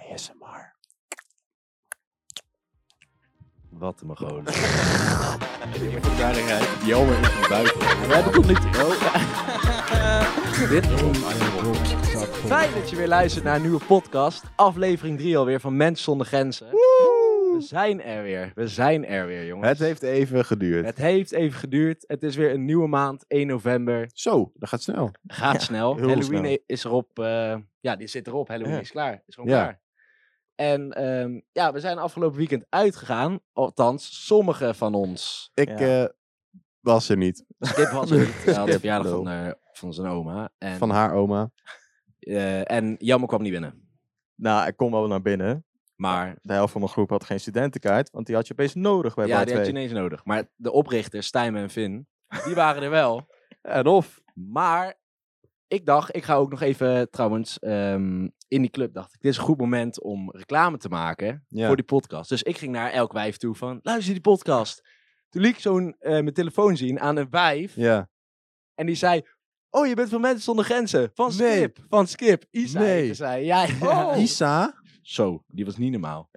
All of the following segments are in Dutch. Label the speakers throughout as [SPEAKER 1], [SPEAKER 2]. [SPEAKER 1] ASMR.
[SPEAKER 2] Wat een gewoon.
[SPEAKER 3] Die verklaringheid. Jelmer in de buik. We hebben tot nu toe.
[SPEAKER 2] Dit
[SPEAKER 1] Fijn dat je weer luistert naar een nieuwe podcast. Aflevering 3 alweer van Mens zonder Grenzen. We zijn er weer. We zijn er weer, jongens.
[SPEAKER 3] Het heeft even geduurd.
[SPEAKER 1] Het heeft even geduurd. Het is weer een nieuwe maand, 1 november.
[SPEAKER 3] Zo, dat gaat snel.
[SPEAKER 1] Gaat snel.
[SPEAKER 3] heel
[SPEAKER 1] Halloween
[SPEAKER 3] snel.
[SPEAKER 1] i- is erop. eh, ja, die zit erop. Halloween
[SPEAKER 3] Ja.
[SPEAKER 1] is klaar. Is gewoon
[SPEAKER 3] Ja.
[SPEAKER 1] klaar. En ehm, ja, we zijn afgelopen weekend uitgegaan. Althans, sommigen van ons.
[SPEAKER 3] Ik
[SPEAKER 4] Ja.
[SPEAKER 3] eh, was er niet.
[SPEAKER 1] Skip was er niet. Hij had de
[SPEAKER 3] Skip,
[SPEAKER 1] verjaardag
[SPEAKER 3] lul.
[SPEAKER 1] van, eh, van zijn oma. En,
[SPEAKER 3] Van haar oma.
[SPEAKER 1] eh, en Jammer kwam niet binnen.
[SPEAKER 4] Nou, ik kom wel naar binnen.
[SPEAKER 1] Maar
[SPEAKER 4] De helft van mijn groep had geen studentenkaart, want die had je opeens nodig bij
[SPEAKER 1] ja,
[SPEAKER 4] ja,
[SPEAKER 1] die had je ineens nodig. Maar de oprichters, Stijn en Finn, die waren er wel.
[SPEAKER 4] En of.
[SPEAKER 1] Maar ik dacht, ik ga ook nog even trouwens ehm, in die club. Dacht ik, dit is een goed moment om reclame te maken
[SPEAKER 3] Ja.
[SPEAKER 1] voor die podcast. Dus ik ging naar elk wijf toe van, luister die podcast. Toen liet ik zo'n eh, mijn telefoon zien aan een wijf.
[SPEAKER 3] Ja.
[SPEAKER 1] En die zei, oh je bent van Mensen Zonder Grenzen. Van
[SPEAKER 3] Nee.
[SPEAKER 1] Skip. Van Skip. Isa
[SPEAKER 3] Nee.
[SPEAKER 1] heette zij. Ja, ja.
[SPEAKER 4] Oh.
[SPEAKER 3] Isa.
[SPEAKER 1] Zo, die was niet normaal.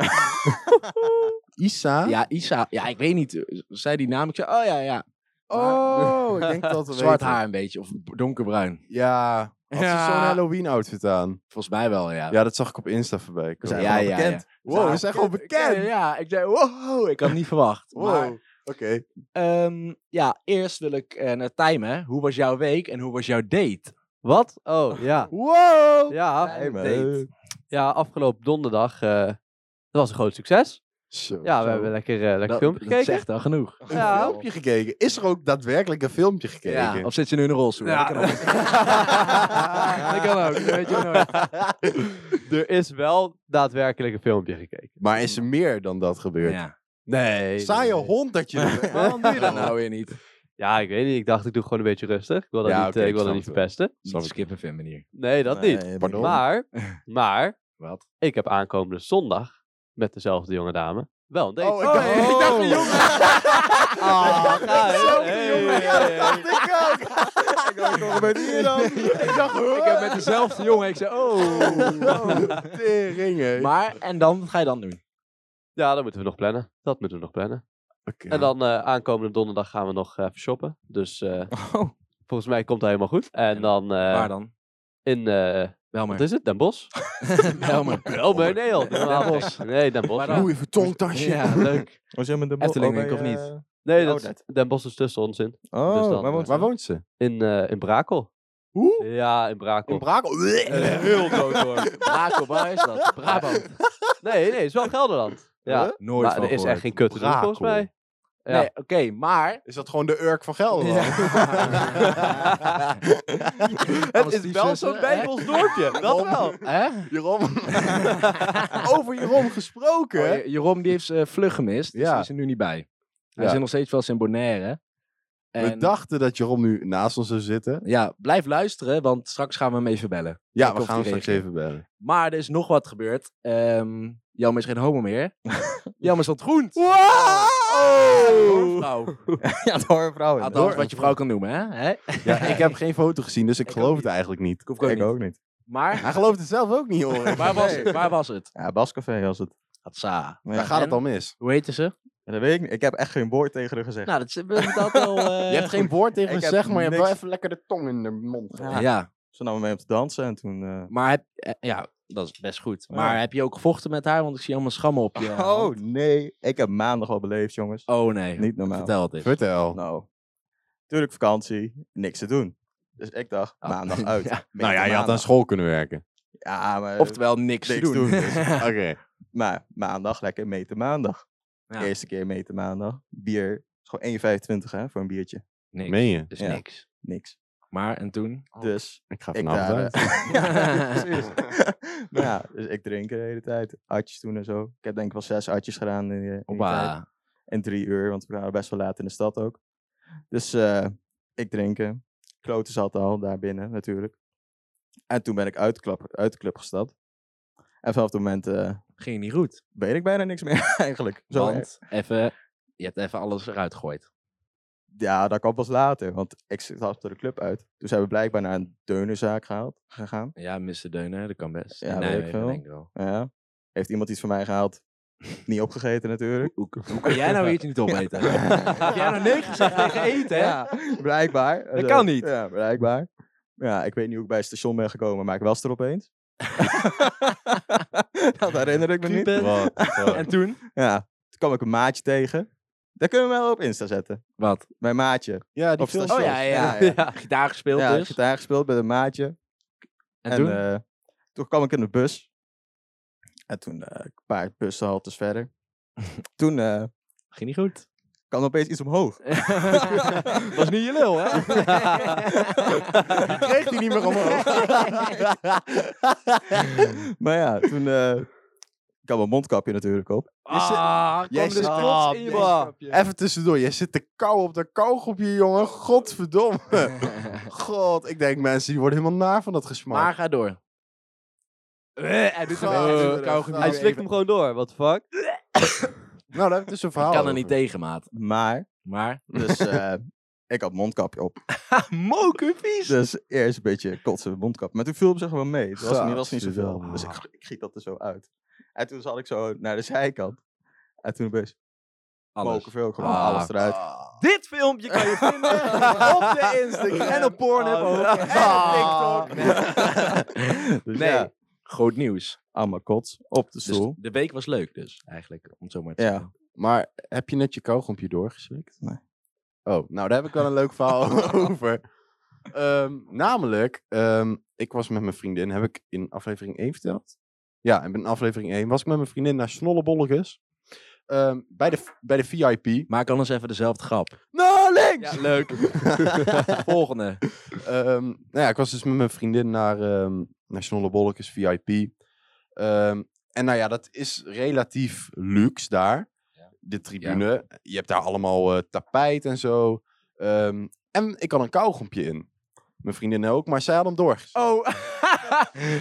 [SPEAKER 3] Isa.
[SPEAKER 1] Ja, Isa. Ja, ik weet niet. eh, Zei die naam. Ik zei, oh ja, ja.
[SPEAKER 3] Oh, ik denk dat we
[SPEAKER 1] Zwart
[SPEAKER 3] weten.
[SPEAKER 1] haar een beetje. Of donkerbruin.
[SPEAKER 3] Ja. Had
[SPEAKER 1] Ja.
[SPEAKER 3] ze zo'n Halloween outfit aan?
[SPEAKER 1] Volgens mij wel, ja.
[SPEAKER 3] Ja, dat zag ik op Insta voorbij komen.
[SPEAKER 4] zijn
[SPEAKER 1] ja,
[SPEAKER 4] gewoon
[SPEAKER 1] ja,
[SPEAKER 4] bekend.
[SPEAKER 1] ja.
[SPEAKER 3] Wow, we zijn gewoon
[SPEAKER 1] Ik,
[SPEAKER 3] bekend.
[SPEAKER 1] ja, ik zei, wow, ik had het niet verwacht. Maar,
[SPEAKER 3] Wow. Oké.
[SPEAKER 1] ehm, ja, eerst wil ik eh, naar Tijmen. hè. Hoe was jouw week en hoe was jouw date?
[SPEAKER 5] Wat? Oh, ja.
[SPEAKER 3] Wow.
[SPEAKER 5] Ja,
[SPEAKER 1] Fijne
[SPEAKER 5] eh,
[SPEAKER 1] date.
[SPEAKER 5] ja afgelopen donderdag. eh, dat was een groot succes.
[SPEAKER 3] Oh, Zo.
[SPEAKER 5] Ja, we hebben lekker, eh, lekker
[SPEAKER 1] Dat,
[SPEAKER 5] filmpje
[SPEAKER 1] dat
[SPEAKER 5] gekeken.
[SPEAKER 1] zegt al genoeg.
[SPEAKER 3] Een
[SPEAKER 5] Ja.
[SPEAKER 3] filmpje gekeken. Is er ook daadwerkelijk een filmpje gekeken?
[SPEAKER 1] Ja, of zit je nu in een rolstoel?
[SPEAKER 5] Ja.
[SPEAKER 1] Dat kan ook.
[SPEAKER 5] dat kan ook, dat weet je nooit. Er is wel daadwerkelijk een filmpje gekeken.
[SPEAKER 3] Maar is er meer dan dat gebeurd?
[SPEAKER 1] Ja.
[SPEAKER 5] Nee.
[SPEAKER 3] Saaie hond dat je er bent. Waarom doe je dat nou?
[SPEAKER 1] nou weer niet?
[SPEAKER 5] Ja, ik weet niet. Ik dacht, ik doe gewoon een beetje rustig. Ik wil dat
[SPEAKER 3] Ja,
[SPEAKER 5] niet,
[SPEAKER 3] oké,
[SPEAKER 5] eh,
[SPEAKER 3] ik
[SPEAKER 5] ik wil dat
[SPEAKER 3] snap
[SPEAKER 5] niet
[SPEAKER 3] het
[SPEAKER 5] verpesten.
[SPEAKER 1] Niet skippen, vind manier.
[SPEAKER 5] Nee, dat niet.
[SPEAKER 3] Pardon?
[SPEAKER 5] Maar, maar,
[SPEAKER 1] Wat?
[SPEAKER 5] ik heb aankomende zondag met dezelfde jonge dame wel een date.
[SPEAKER 3] Oh, ik dacht,
[SPEAKER 4] Oh.
[SPEAKER 3] ik dacht een jongen.
[SPEAKER 5] Ah,
[SPEAKER 1] nou,
[SPEAKER 5] ga eens.
[SPEAKER 3] Dezelfde
[SPEAKER 5] Hey,
[SPEAKER 3] jongen. Ja,
[SPEAKER 5] hey,
[SPEAKER 3] dat
[SPEAKER 5] hey.
[SPEAKER 3] dacht ik ook. Ik dacht, wat gebeurt hier dan? Ik dacht, huh?
[SPEAKER 1] Ik heb met dezelfde jongen, ik zei, oh.
[SPEAKER 3] Oh, tering, hé.
[SPEAKER 1] Maar, en dan, wat ga je dan doen?
[SPEAKER 5] Ja, dat moeten we nog plannen. Dat moeten we nog plannen.
[SPEAKER 3] Oké.
[SPEAKER 5] En dan eh, aankomende donderdag gaan we nog eh, even shoppen. Dus eh,
[SPEAKER 4] Oh.
[SPEAKER 5] volgens mij komt dat helemaal goed. En
[SPEAKER 1] En
[SPEAKER 5] dan eh,
[SPEAKER 1] Waar dan?
[SPEAKER 5] in, eh wat
[SPEAKER 1] Belmer.
[SPEAKER 5] is het, Den Bosch?
[SPEAKER 1] Belmer.
[SPEAKER 5] Belmer, nee joh. Den Bosch. Nee, Den
[SPEAKER 1] Maar
[SPEAKER 5] Bosch.
[SPEAKER 1] dan-
[SPEAKER 3] Louis Vuitton tasje.
[SPEAKER 1] Ja, leuk. Oh,
[SPEAKER 4] Was jij met de
[SPEAKER 1] Efteling,
[SPEAKER 4] bij,
[SPEAKER 1] denk ik, of niet?
[SPEAKER 4] eh,
[SPEAKER 5] Nee, dat,
[SPEAKER 4] Oh,
[SPEAKER 5] is- Den Bosch is tussen ons in.
[SPEAKER 4] Oh,
[SPEAKER 5] Dus dan,
[SPEAKER 4] maar wat-
[SPEAKER 5] eh,
[SPEAKER 3] Waar woont ze?
[SPEAKER 5] In, eh, in Brakel.
[SPEAKER 3] Hoe?
[SPEAKER 5] Ja, in Brakel.
[SPEAKER 3] In Brakel? Eh,
[SPEAKER 5] Heel dood hoor.
[SPEAKER 1] Brakel, waar is dat? Brabant.
[SPEAKER 5] Nee, nee, het is wel Gelderland. Ja.
[SPEAKER 1] Nooit
[SPEAKER 5] maar er is echt geen kut
[SPEAKER 3] Brakel.
[SPEAKER 5] volgens mij. Ja.
[SPEAKER 1] Nee, oké, maar...
[SPEAKER 3] Is dat gewoon de Urk van Gelderland?
[SPEAKER 1] Alles
[SPEAKER 3] Het is
[SPEAKER 1] die
[SPEAKER 3] wel
[SPEAKER 1] zussen,
[SPEAKER 3] zo'n
[SPEAKER 1] hè?
[SPEAKER 3] Bijbels dorpje. Dat wel.
[SPEAKER 1] Hè?
[SPEAKER 3] Jeroen. Over Jeroen gesproken.
[SPEAKER 1] Oh, J- Jeroen die heeft zijn vlug gemist, dus
[SPEAKER 3] Ja.
[SPEAKER 1] die is er nu niet bij. Hij
[SPEAKER 3] Ja.
[SPEAKER 1] zit nog steeds wel eens in Bonaire.
[SPEAKER 3] We
[SPEAKER 1] En
[SPEAKER 3] dachten dat Jeroen nu naast ons zou zitten.
[SPEAKER 1] ja, blijf luisteren, want straks gaan we hem even bellen.
[SPEAKER 3] Ja,
[SPEAKER 1] Kijken
[SPEAKER 3] we
[SPEAKER 1] of hij
[SPEAKER 3] gaan hem straks
[SPEAKER 1] reageert.
[SPEAKER 3] even bellen.
[SPEAKER 1] Maar er is nog wat gebeurd. Ehm Jammer is geen homo meer. Jammer is wat groen.
[SPEAKER 3] Wow!
[SPEAKER 1] Vrouw.
[SPEAKER 4] Oh. ja, door vrouwen.
[SPEAKER 1] Althans, wat je vrouw kan noemen, hè? hè? Ik
[SPEAKER 3] Ja, ik heb geen foto gezien, dus ik,
[SPEAKER 1] Ik ook
[SPEAKER 3] geloof
[SPEAKER 1] niet.
[SPEAKER 3] het eigenlijk niet.
[SPEAKER 1] hoef ook
[SPEAKER 4] Ik
[SPEAKER 1] niet.
[SPEAKER 4] ook niet.
[SPEAKER 1] Maar,
[SPEAKER 3] Hij gelooft het zelf ook niet, hoor.
[SPEAKER 1] waar was het? Waar was het?
[SPEAKER 4] Ja, Bascafé was het.
[SPEAKER 1] Hatsa.
[SPEAKER 4] Maar Ja.
[SPEAKER 3] Daar gaat
[SPEAKER 1] En?
[SPEAKER 3] het al mis.
[SPEAKER 1] Hoe heette ze?
[SPEAKER 4] Ja, dat weet ik niet. Ik heb echt geen woord tegen haar gezegd.
[SPEAKER 1] Nou, dat is we hebben het altijd al... eh,
[SPEAKER 3] Je hebt geen woord
[SPEAKER 4] Ik
[SPEAKER 3] tegen hem
[SPEAKER 4] heb
[SPEAKER 3] gezegd, maar je hebt wel
[SPEAKER 4] niks.
[SPEAKER 3] even lekker de tong in de mond.
[SPEAKER 4] Ja.
[SPEAKER 3] gegooid.
[SPEAKER 1] Ja,
[SPEAKER 4] Ze namen mee op te dansen en toen... eh,
[SPEAKER 1] maar heb, eh, ja, dat is best goed.
[SPEAKER 4] Ja.
[SPEAKER 1] Maar heb je ook gevochten met haar? Want ik zie allemaal schammen op je. hand.
[SPEAKER 4] Oh nee, ik heb maandag al beleefd, jongens.
[SPEAKER 1] Oh nee.
[SPEAKER 4] Niet normaal.
[SPEAKER 1] Vertel het eens.
[SPEAKER 3] Vertel.
[SPEAKER 4] Nou, natuurlijk vakantie, niks te doen. Dus ik dacht,
[SPEAKER 1] Ah,
[SPEAKER 4] maandag uit.
[SPEAKER 1] ja.
[SPEAKER 3] Nou ja, je had aan
[SPEAKER 4] dan
[SPEAKER 3] school kunnen werken.
[SPEAKER 4] Ja, maar,
[SPEAKER 1] Oftewel niks,
[SPEAKER 4] niks
[SPEAKER 1] te doen.
[SPEAKER 4] doen, dus.
[SPEAKER 3] Oké.
[SPEAKER 4] maar maandag lekker meten maandag.
[SPEAKER 1] Ja.
[SPEAKER 4] Eerste keer meten maandag. Bier, is gewoon 1,25 hè, voor een biertje.
[SPEAKER 1] niks.
[SPEAKER 3] Meen je?
[SPEAKER 1] Dus
[SPEAKER 4] Ja.
[SPEAKER 1] niks.
[SPEAKER 4] Niks.
[SPEAKER 1] Maar, en toen?
[SPEAKER 4] Dus
[SPEAKER 3] Ik ga
[SPEAKER 4] ik
[SPEAKER 3] vanavond uit.
[SPEAKER 4] daaruit. ja, precies. maar ja, dus ik drink de hele tijd. Atjes toen en zo. Ik heb denk ik wel zes atjes gedaan in, die- in die tijd.
[SPEAKER 1] Hoppa.
[SPEAKER 4] En drie uur, want we waren best wel laat in de stad ook. Dus eh, ik drinken. Kloten zat al daar binnen natuurlijk. En toen ben ik uit de club, uit de club gestapt. En vanaf dat moment eh,
[SPEAKER 1] Ging niet goed.
[SPEAKER 4] weet ik bijna niks meer eigenlijk. Zo eh, erg.
[SPEAKER 1] want even, je hebt even alles eruit gegooid.
[SPEAKER 4] Ja, dat kwam pas later, want ik stapte de club uit. Toen zijn we blijkbaar naar een deunenzaak gehaald, gegaan.
[SPEAKER 1] Ja, Mr. Deuner, dat kan best.
[SPEAKER 4] Ja,
[SPEAKER 1] In
[SPEAKER 4] weet ik
[SPEAKER 1] Nijmegen,
[SPEAKER 4] veel.
[SPEAKER 1] denk ik wel.
[SPEAKER 4] Ja. Heeft iemand iets van mij gehaald? Niet opgegeten natuurlijk.
[SPEAKER 1] Hoe kan jij nou iets niet opeten? Heb jij nou nee gezegd tegen eten, hè?
[SPEAKER 4] Ja, blijkbaar.
[SPEAKER 1] Dat kan niet.
[SPEAKER 4] Ja, blijkbaar. Ja, ik weet niet hoe ik bij het station ben gekomen, maar ik was er opeens. dat herinner ik me niet.
[SPEAKER 1] Typen.
[SPEAKER 3] What the fuck?
[SPEAKER 1] En toen?
[SPEAKER 4] Ja, toen kwam ik een maatje tegen. Daar kunnen we wel op Insta zetten.
[SPEAKER 1] Wat?
[SPEAKER 4] Mijn maatje.
[SPEAKER 3] Ja, die
[SPEAKER 4] Op
[SPEAKER 3] film.
[SPEAKER 1] Oh
[SPEAKER 4] Zo,
[SPEAKER 1] ja, ja,
[SPEAKER 4] ja,
[SPEAKER 1] ja.
[SPEAKER 4] ja.
[SPEAKER 1] Gitaar gespeeld
[SPEAKER 4] Ja, ik heb
[SPEAKER 1] dus.
[SPEAKER 4] gitaar gespeeld met een maatje.
[SPEAKER 1] En, toen?
[SPEAKER 4] eh, toen kwam ik in de bus. En toen eh, een paar bushaltes verder. toen eh,
[SPEAKER 1] Ging niet goed.
[SPEAKER 4] kwam opeens iets omhoog.
[SPEAKER 1] Ah, was niet je lul, hè?
[SPEAKER 3] kreeg die niet meer omhoog.
[SPEAKER 1] Hmm.
[SPEAKER 4] maar ja, toen eh, ik had mijn mondkapje natuurlijk op.
[SPEAKER 1] Ah,
[SPEAKER 3] Jij
[SPEAKER 1] kwam dus
[SPEAKER 3] zit-
[SPEAKER 1] trots in je
[SPEAKER 5] Ah, nee.
[SPEAKER 1] mondkapje.
[SPEAKER 3] Even tussendoor, jij zit te kou op de kauwgroepje, jongen. Godverdomme. God, ik denk mensen die worden helemaal naar van dat gesmaak.
[SPEAKER 1] Maar ga door. Eh, Hij doet
[SPEAKER 3] Ga-
[SPEAKER 1] hem echt.
[SPEAKER 3] Eh,
[SPEAKER 1] Hij doet hem
[SPEAKER 5] Hij
[SPEAKER 1] echt.
[SPEAKER 5] slikt hem gewoon door, what the fuck?
[SPEAKER 3] nou, daar heb ik dus een verhaal
[SPEAKER 1] Ik kan er niet
[SPEAKER 3] over.
[SPEAKER 1] tegen, maat.
[SPEAKER 4] Maar,
[SPEAKER 1] Maar...
[SPEAKER 4] dus eh, ik had mondkapje op.
[SPEAKER 1] Mokupies!
[SPEAKER 4] Dus eerst een beetje kotsen met mondkap. Maar toen viel het zich wel mee. Het was, niet- was niet zoveel.
[SPEAKER 3] Gadverdamme.
[SPEAKER 4] Dus ik, ik giet dat er zo uit. En toen zat ik zo naar de zijkant. En toen opeens
[SPEAKER 1] Alles.
[SPEAKER 4] mogen veel gewoon
[SPEAKER 1] Ah,
[SPEAKER 4] alles eruit.
[SPEAKER 1] Dit filmpje kan je vinden
[SPEAKER 5] Oh,
[SPEAKER 1] op de Instagram Oh, en op Pornhub ook. En
[SPEAKER 3] Ah.
[SPEAKER 1] op TikTok.
[SPEAKER 4] Dus
[SPEAKER 1] Nee.
[SPEAKER 4] ja,
[SPEAKER 1] Goed nieuws.
[SPEAKER 4] allemaal kots op de
[SPEAKER 1] Dus
[SPEAKER 4] stoel.
[SPEAKER 1] de week was leuk dus, eigenlijk. Om het zo maar te
[SPEAKER 4] Ja.
[SPEAKER 1] zeggen.
[SPEAKER 3] Maar heb je net je kauwgrompje doorgeslikt?
[SPEAKER 4] Nee.
[SPEAKER 3] Oh, nou daar heb ik wel een leuk verhaal over. Ehm, namelijk, ehm, ik was met mijn vriendin, heb ik in aflevering 1 verteld? Ja, in aflevering 1 was ik met mijn vriendin naar Snollebollekes. Ehm, bij, de, bij de VIP.
[SPEAKER 1] Maak anders even dezelfde grap.
[SPEAKER 3] Nou, links!
[SPEAKER 1] Ja, leuk. Volgende.
[SPEAKER 3] Ehm, nou ja, ik was dus met mijn vriendin naar ehm Nationale Bollekes VIP. Ehm, en nou ja, dat is relatief luxe daar. De tribune. Je hebt daar allemaal eh, tapijt en zo. Ehm, en ik had een kauwgompje in. Mijn vriendin ook, maar zij had hem door.
[SPEAKER 1] Oh,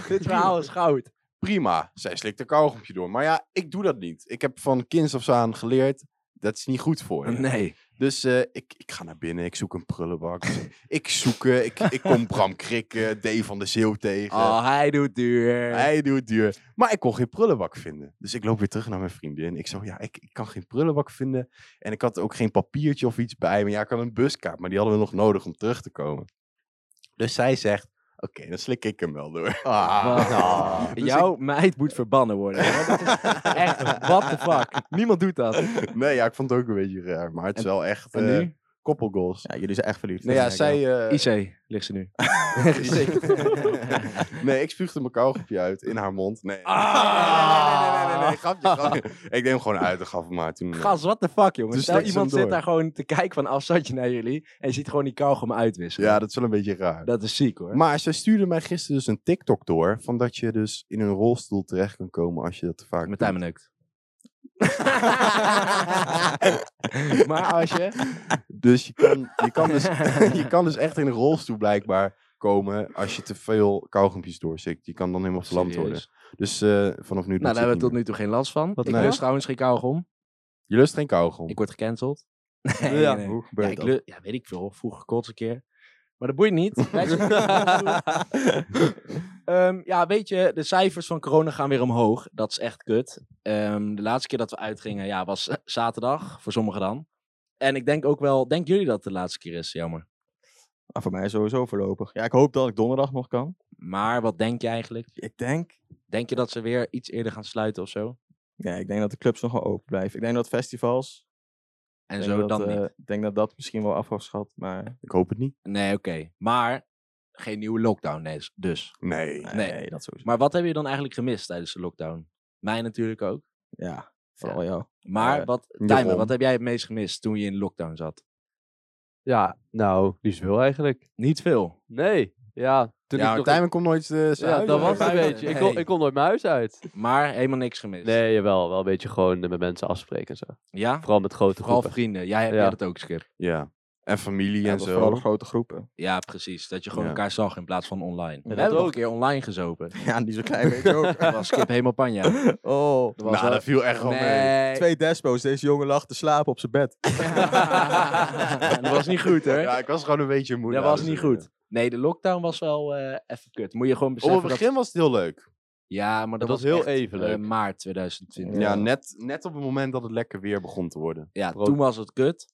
[SPEAKER 1] dit verhaal is goud.
[SPEAKER 3] Prima, zij slikt een kauwgompje door. Maar ja, ik doe dat niet. Ik heb van kinds af aan geleerd, dat is niet goed voor je.
[SPEAKER 1] Nee.
[SPEAKER 3] Dus eh, ik, ik ga naar binnen, ik zoek een prullenbak. ik zoek, eh, ik, ik kom Bram Krikken, D van de Zeeuw tegen.
[SPEAKER 1] Oh, hij doet duur.
[SPEAKER 3] Hij doet duur. Maar ik kon geen prullenbak vinden. Dus ik loop weer terug naar mijn vriendin. Ik zei, ja, ik, ik kan geen prullenbak vinden. En ik had ook geen papiertje of iets bij me. Ja, ik had een buskaart, maar die hadden we nog nodig om terug te komen. Dus zij zegt, oké, dan slik ik hem wel door.
[SPEAKER 1] Wat?
[SPEAKER 3] Ah. Dus
[SPEAKER 1] Jouw meid moet verbannen worden. hè? Dat is echt, what the fuck. Niemand doet dat.
[SPEAKER 3] ik- nee, ja, ik vond het ook een beetje raar. Maar het is wel echt
[SPEAKER 1] En
[SPEAKER 3] eh,
[SPEAKER 1] nu?
[SPEAKER 3] koppelgoals.
[SPEAKER 4] Ja, jullie zijn echt verliefd.
[SPEAKER 3] Nee,
[SPEAKER 4] Dat
[SPEAKER 3] ja,
[SPEAKER 4] merk ik
[SPEAKER 3] zij... eh,
[SPEAKER 1] IC ligt ze nu.
[SPEAKER 3] nee, ik spuugde mijn kauwgompje uit in haar mond. Nee.
[SPEAKER 1] Ah.
[SPEAKER 3] Nee, nee, nee, nee, nee, nee, grapje, grapje. Ik deed hem gewoon uit en gaf hem maar toen... eh,
[SPEAKER 1] Gast, what the fuck, jongen.
[SPEAKER 3] Dus
[SPEAKER 1] Stel,
[SPEAKER 3] slik ze
[SPEAKER 1] iemand
[SPEAKER 3] hem
[SPEAKER 1] zit
[SPEAKER 3] door.
[SPEAKER 1] daar gewoon te kijken van afstandje naar jullie en je ziet gewoon die kauwgom uitwisselen.
[SPEAKER 3] Ja, dat is wel een beetje raar.
[SPEAKER 1] Dat is ziek, hoor.
[SPEAKER 3] Maar zij stuurde mij gisteren dus een TikTok door. Van dat je dus in een rolstoel terecht kan komen als je dat te vaak
[SPEAKER 1] Met
[SPEAKER 3] doet.
[SPEAKER 1] Martijn beneukt. maar als je...
[SPEAKER 3] Dus je kan, je, kan dus, je kan dus echt in een rolstoel blijkbaar komen als je te veel kauwgompjes doorzikt. Je kan dan helemaal verlamd worden.
[SPEAKER 1] Serieus.
[SPEAKER 3] Dus eh, vanaf nu doet
[SPEAKER 1] Nou,
[SPEAKER 3] ze
[SPEAKER 1] daar hebben
[SPEAKER 3] het
[SPEAKER 1] we
[SPEAKER 3] niet
[SPEAKER 1] tot nu toe geen last van.
[SPEAKER 3] Wat
[SPEAKER 1] ik
[SPEAKER 3] nou?
[SPEAKER 1] lust trouwens geen kauwgom.
[SPEAKER 3] meer. Je lust geen kauwgom.
[SPEAKER 1] Ik word gecanceld. Nee,
[SPEAKER 5] Ja.
[SPEAKER 1] nee, nee.
[SPEAKER 4] Hoe
[SPEAKER 1] Ja,
[SPEAKER 4] gebeurt
[SPEAKER 1] ik
[SPEAKER 4] dat?
[SPEAKER 1] lu- ja, weet ik veel. Vroeger kots een keer. Maar dat boeit niet. Wij zijn- Ehm, ja, weet je, de cijfers van corona gaan weer omhoog. Dat is echt kut. Ehm, de laatste keer dat we uitgingen, ja, was eh, zaterdag. Voor sommigen dan. En ik denk ook wel, denken jullie dat het de laatste keer is? Jammer.
[SPEAKER 4] Maar voor mij sowieso voorlopig. Ja, ik hoop dat ik donderdag nog kan.
[SPEAKER 1] Maar wat denk je eigenlijk?
[SPEAKER 4] Ik denk...
[SPEAKER 1] Denk je dat ze weer iets eerder gaan sluiten of zo?
[SPEAKER 4] Ja, ik denk dat de clubs nog wel open blijven. Ik denk dat festivals...
[SPEAKER 1] En
[SPEAKER 4] ik
[SPEAKER 1] zo
[SPEAKER 4] denk dat,
[SPEAKER 1] dan
[SPEAKER 4] eh,
[SPEAKER 1] niet.
[SPEAKER 4] Ik denk dat dat misschien wel af wordt geschat, maar...
[SPEAKER 3] Ik hoop het niet.
[SPEAKER 1] Nee, oké. Maar geen nieuwe lockdown nee, dus.
[SPEAKER 3] Nee.
[SPEAKER 4] Nee,
[SPEAKER 1] Nee.
[SPEAKER 4] dat sowieso.
[SPEAKER 1] Maar wat heb je dan eigenlijk gemist tijdens de lockdown? Mij natuurlijk ook.
[SPEAKER 4] Ja, vooral jou.
[SPEAKER 1] Maar
[SPEAKER 4] Eh,
[SPEAKER 1] wat, Tijmen,
[SPEAKER 3] daarom.
[SPEAKER 1] wat heb jij het meest gemist toen je in de lockdown zat?
[SPEAKER 5] Ja, nou, niet zoveel eigenlijk.
[SPEAKER 1] Niet veel.
[SPEAKER 5] Nee, ja. Toen
[SPEAKER 3] ja,
[SPEAKER 5] ik nog-
[SPEAKER 3] Tijmen komt nooit eh, zijn
[SPEAKER 5] ja,
[SPEAKER 3] huis
[SPEAKER 5] dat
[SPEAKER 3] uit.
[SPEAKER 5] was het een
[SPEAKER 1] Nee.
[SPEAKER 5] beetje. Ik kon, ik kon nooit mijn huis uit.
[SPEAKER 1] Maar helemaal niks gemist.
[SPEAKER 5] Nee, jawel. Wel een beetje gewoon eh, met mensen afspreken en zo.
[SPEAKER 1] Ja?
[SPEAKER 5] Vooral met grote
[SPEAKER 1] Vooral
[SPEAKER 5] groepen.
[SPEAKER 1] vrienden. Jij hebt
[SPEAKER 5] Ja.
[SPEAKER 1] jij dat ook, Skip.
[SPEAKER 3] Ja. En familie
[SPEAKER 4] Ja,
[SPEAKER 3] en
[SPEAKER 4] dat vooral
[SPEAKER 3] zo.
[SPEAKER 4] de grote groepen.
[SPEAKER 1] Ja, precies. Dat je gewoon
[SPEAKER 3] Ja.
[SPEAKER 1] elkaar zag in plaats van online. We
[SPEAKER 5] dat
[SPEAKER 1] hebben ook een
[SPEAKER 5] ook.
[SPEAKER 1] keer online gezopen.
[SPEAKER 4] Ja, die zo klein beetje
[SPEAKER 1] Dat
[SPEAKER 4] ook.
[SPEAKER 1] was Skip helemaal panja. Dat
[SPEAKER 4] Oh,
[SPEAKER 1] was
[SPEAKER 3] Nou,
[SPEAKER 1] wel-
[SPEAKER 3] dat viel echt wel mee.
[SPEAKER 1] nee.
[SPEAKER 4] twee despo's. Deze jongen lag te slapen op zijn bed.
[SPEAKER 1] dat was niet goed, hoor.
[SPEAKER 3] Ja, ik was gewoon een beetje moe. dus
[SPEAKER 1] dat
[SPEAKER 3] dames
[SPEAKER 1] was
[SPEAKER 3] en
[SPEAKER 1] niet
[SPEAKER 3] heren.
[SPEAKER 1] goed. Nee, de lockdown was wel eh, even kut. Moet je gewoon
[SPEAKER 3] Op
[SPEAKER 1] beseffen
[SPEAKER 3] het begin was het heel leuk.
[SPEAKER 1] Ja, maar dat,
[SPEAKER 5] Dat was heel
[SPEAKER 1] echt,
[SPEAKER 5] even
[SPEAKER 1] eh,
[SPEAKER 5] leuk.
[SPEAKER 1] maart 2020.
[SPEAKER 3] Ja, net, net op het moment dat het lekker weer begon te worden.
[SPEAKER 1] Ja,
[SPEAKER 5] Brood.
[SPEAKER 1] toen was het kut.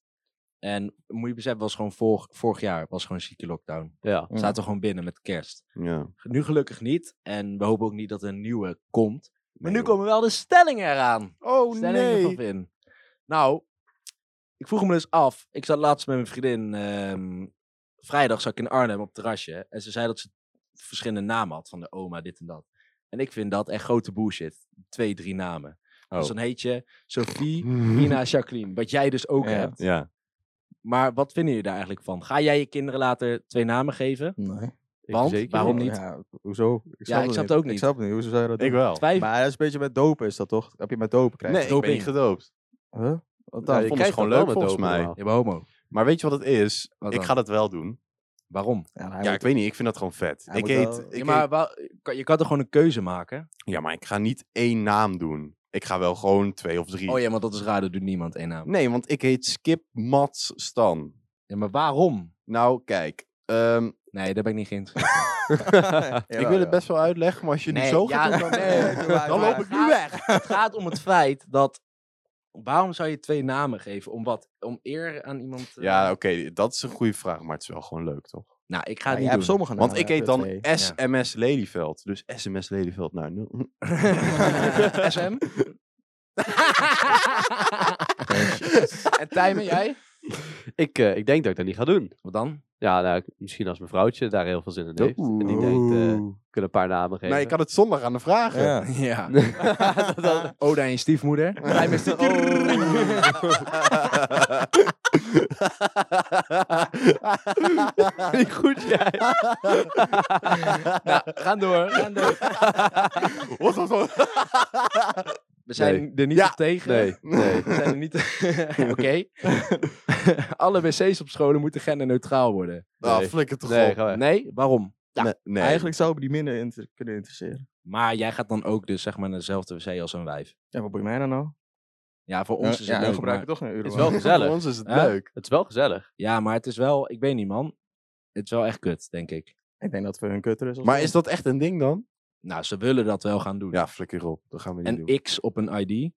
[SPEAKER 1] En moet je beseffen, was gewoon vorig, vorig jaar was gewoon een zieke lockdown.
[SPEAKER 5] Ja.
[SPEAKER 1] We zaten gewoon binnen met kerst.
[SPEAKER 3] Ja.
[SPEAKER 1] Nu gelukkig niet. En we hopen ook niet dat er een nieuwe komt. Maar nu
[SPEAKER 3] Nee,
[SPEAKER 1] komen wel de stellingen eraan.
[SPEAKER 3] Oh
[SPEAKER 1] stellingen van Vin. Nou, ik vroeg me dus af. Ik zat laatst met mijn vriendin. ehm, vrijdag zat ik in Arnhem op het terrasje. En ze zei dat ze verschillende namen had. Van de oma, dit en dat. En ik vind dat echt grote bullshit. Twee, drie namen. Dus dan heet je Sophie, Ina, Jacqueline. Wat jij dus ook
[SPEAKER 4] Ja.
[SPEAKER 1] hebt.
[SPEAKER 3] Ja.
[SPEAKER 1] Maar wat vinden jullie daar eigenlijk van? Ga jij je kinderen later twee namen geven?
[SPEAKER 4] Nee.
[SPEAKER 1] Want, waarom niet?
[SPEAKER 4] Ja, hoezo? Ik
[SPEAKER 1] ik snap het ook niet.
[SPEAKER 4] Ik snap het niet. Hoezo zou je dat
[SPEAKER 3] Ik
[SPEAKER 4] doen?
[SPEAKER 3] wel.
[SPEAKER 1] Twijfel.
[SPEAKER 4] Maar dat is een beetje met dopen, is dat toch? Heb je met dopen krijgen?
[SPEAKER 3] Nee, ik ben
[SPEAKER 1] doping.
[SPEAKER 3] niet gedoopt.
[SPEAKER 4] Huh? Wat dan?
[SPEAKER 5] Nou, je
[SPEAKER 3] vond
[SPEAKER 5] krijgt
[SPEAKER 3] het gewoon
[SPEAKER 5] dat
[SPEAKER 3] leuk
[SPEAKER 5] wel met
[SPEAKER 3] volgens
[SPEAKER 5] dopen
[SPEAKER 3] mij.
[SPEAKER 5] normaal.
[SPEAKER 1] Je bent homo.
[SPEAKER 3] Maar weet je wat het is?
[SPEAKER 1] Wat
[SPEAKER 3] ik
[SPEAKER 1] dan?
[SPEAKER 3] ga dat wel doen.
[SPEAKER 1] Waarom?
[SPEAKER 4] Ja, hij
[SPEAKER 3] Ja,
[SPEAKER 4] moet-
[SPEAKER 3] ik weet niet. Ik vind dat gewoon vet.
[SPEAKER 4] Hij
[SPEAKER 3] Ik
[SPEAKER 4] moet
[SPEAKER 3] eet...
[SPEAKER 4] wel-
[SPEAKER 3] Ik
[SPEAKER 1] Ja,
[SPEAKER 3] eet-
[SPEAKER 1] maar wel- kan- je kan toch gewoon een keuze maken?
[SPEAKER 3] ja, maar ik ga niet één naam doen. Ik ga wel gewoon twee of drie.
[SPEAKER 1] Oh ja, want dat is raar, dat doet niemand één naam.
[SPEAKER 3] Nee, want ik heet Skip Mats Stan.
[SPEAKER 1] Ja, maar waarom?
[SPEAKER 3] Nou, kijk. ehm,
[SPEAKER 1] Nee, daar ben ik niet geïnteresseerd
[SPEAKER 3] ik wil het best wel uitleggen, maar als je
[SPEAKER 1] in.
[SPEAKER 3] het nu zo gaat
[SPEAKER 1] ja,
[SPEAKER 3] doen, dan...
[SPEAKER 1] nee,
[SPEAKER 4] doe maar,
[SPEAKER 1] dan
[SPEAKER 4] doe
[SPEAKER 1] loop ik nu weg. Het gaat om het feit dat... Waarom zou je twee namen geven? Om wat? Om eer aan iemand... eh,
[SPEAKER 3] Ja, oké, dat is een goede vraag, maar het is wel gewoon leuk, toch?
[SPEAKER 1] Nou, ik ga
[SPEAKER 4] Ja,
[SPEAKER 1] het
[SPEAKER 4] je
[SPEAKER 1] niet
[SPEAKER 4] hebt
[SPEAKER 1] doen.
[SPEAKER 4] sommige
[SPEAKER 3] Want
[SPEAKER 4] namen,
[SPEAKER 3] ik heet
[SPEAKER 4] hè,
[SPEAKER 3] dan
[SPEAKER 4] twee.
[SPEAKER 3] SMS Lelyveld. Dus SMS Lelyveld nou, naar nul.
[SPEAKER 1] SM? en Tijmen, jij?
[SPEAKER 5] Ik, eh, ik denk dat ik dat niet ga doen.
[SPEAKER 1] Wat dan?
[SPEAKER 5] Ja, nou, ik- misschien als mijn vrouwtje daar heel veel zin in heeft. En die
[SPEAKER 4] Oeh.
[SPEAKER 5] denkt, eh, ik kan een paar namen geven.
[SPEAKER 3] Nou, ik had het zondag aan de vragen.
[SPEAKER 4] Ja.
[SPEAKER 1] Ja.
[SPEAKER 5] Dat- dat-
[SPEAKER 1] Oda en je stiefmoeder. Oh. Tijmen is die-
[SPEAKER 5] Vind ik goed, jij.
[SPEAKER 1] Nou, gaan door, gaan door.
[SPEAKER 3] Wat was dat?
[SPEAKER 1] We zijn
[SPEAKER 5] Nee.
[SPEAKER 1] er niet
[SPEAKER 3] Ja.
[SPEAKER 1] op tegen.
[SPEAKER 5] Nee, nee.
[SPEAKER 1] We zijn er niet... Oké. Alle wc's op scholen moeten genderneutraal worden.
[SPEAKER 3] Ah,
[SPEAKER 5] Nee.
[SPEAKER 3] flikker toch
[SPEAKER 5] Nee,
[SPEAKER 3] op.
[SPEAKER 5] ga weg.
[SPEAKER 1] Nee? Waarom? Ja.
[SPEAKER 3] Nee, nee.
[SPEAKER 4] Eigenlijk zou ik me die minder inter- kunnen interesseren.
[SPEAKER 1] Maar jij gaat dan ook dus zeg maar naar dezelfde wc als een wijf.
[SPEAKER 4] Ja, wat boeit mij dan nou?
[SPEAKER 1] Ja, voor
[SPEAKER 4] Ja,
[SPEAKER 1] ons is het
[SPEAKER 4] ja, dan
[SPEAKER 1] leuk,
[SPEAKER 4] gebruik
[SPEAKER 1] maar...
[SPEAKER 4] ik toch een euro.
[SPEAKER 5] Het is wel
[SPEAKER 3] Voor
[SPEAKER 5] gezellig.
[SPEAKER 3] ons is het
[SPEAKER 1] Hè?
[SPEAKER 3] leuk.
[SPEAKER 5] Het is wel gezellig.
[SPEAKER 1] Ja, maar het is wel... Ik weet niet, man. Het is wel echt kut, denk ik.
[SPEAKER 4] Ik denk dat we een kutter is. als
[SPEAKER 3] Maar
[SPEAKER 4] wel.
[SPEAKER 3] is dat echt een ding dan?
[SPEAKER 1] Nou, ze willen dat wel gaan doen.
[SPEAKER 3] Ja, flikker op. Dat gaan we niet doen.
[SPEAKER 1] Een X op een ID.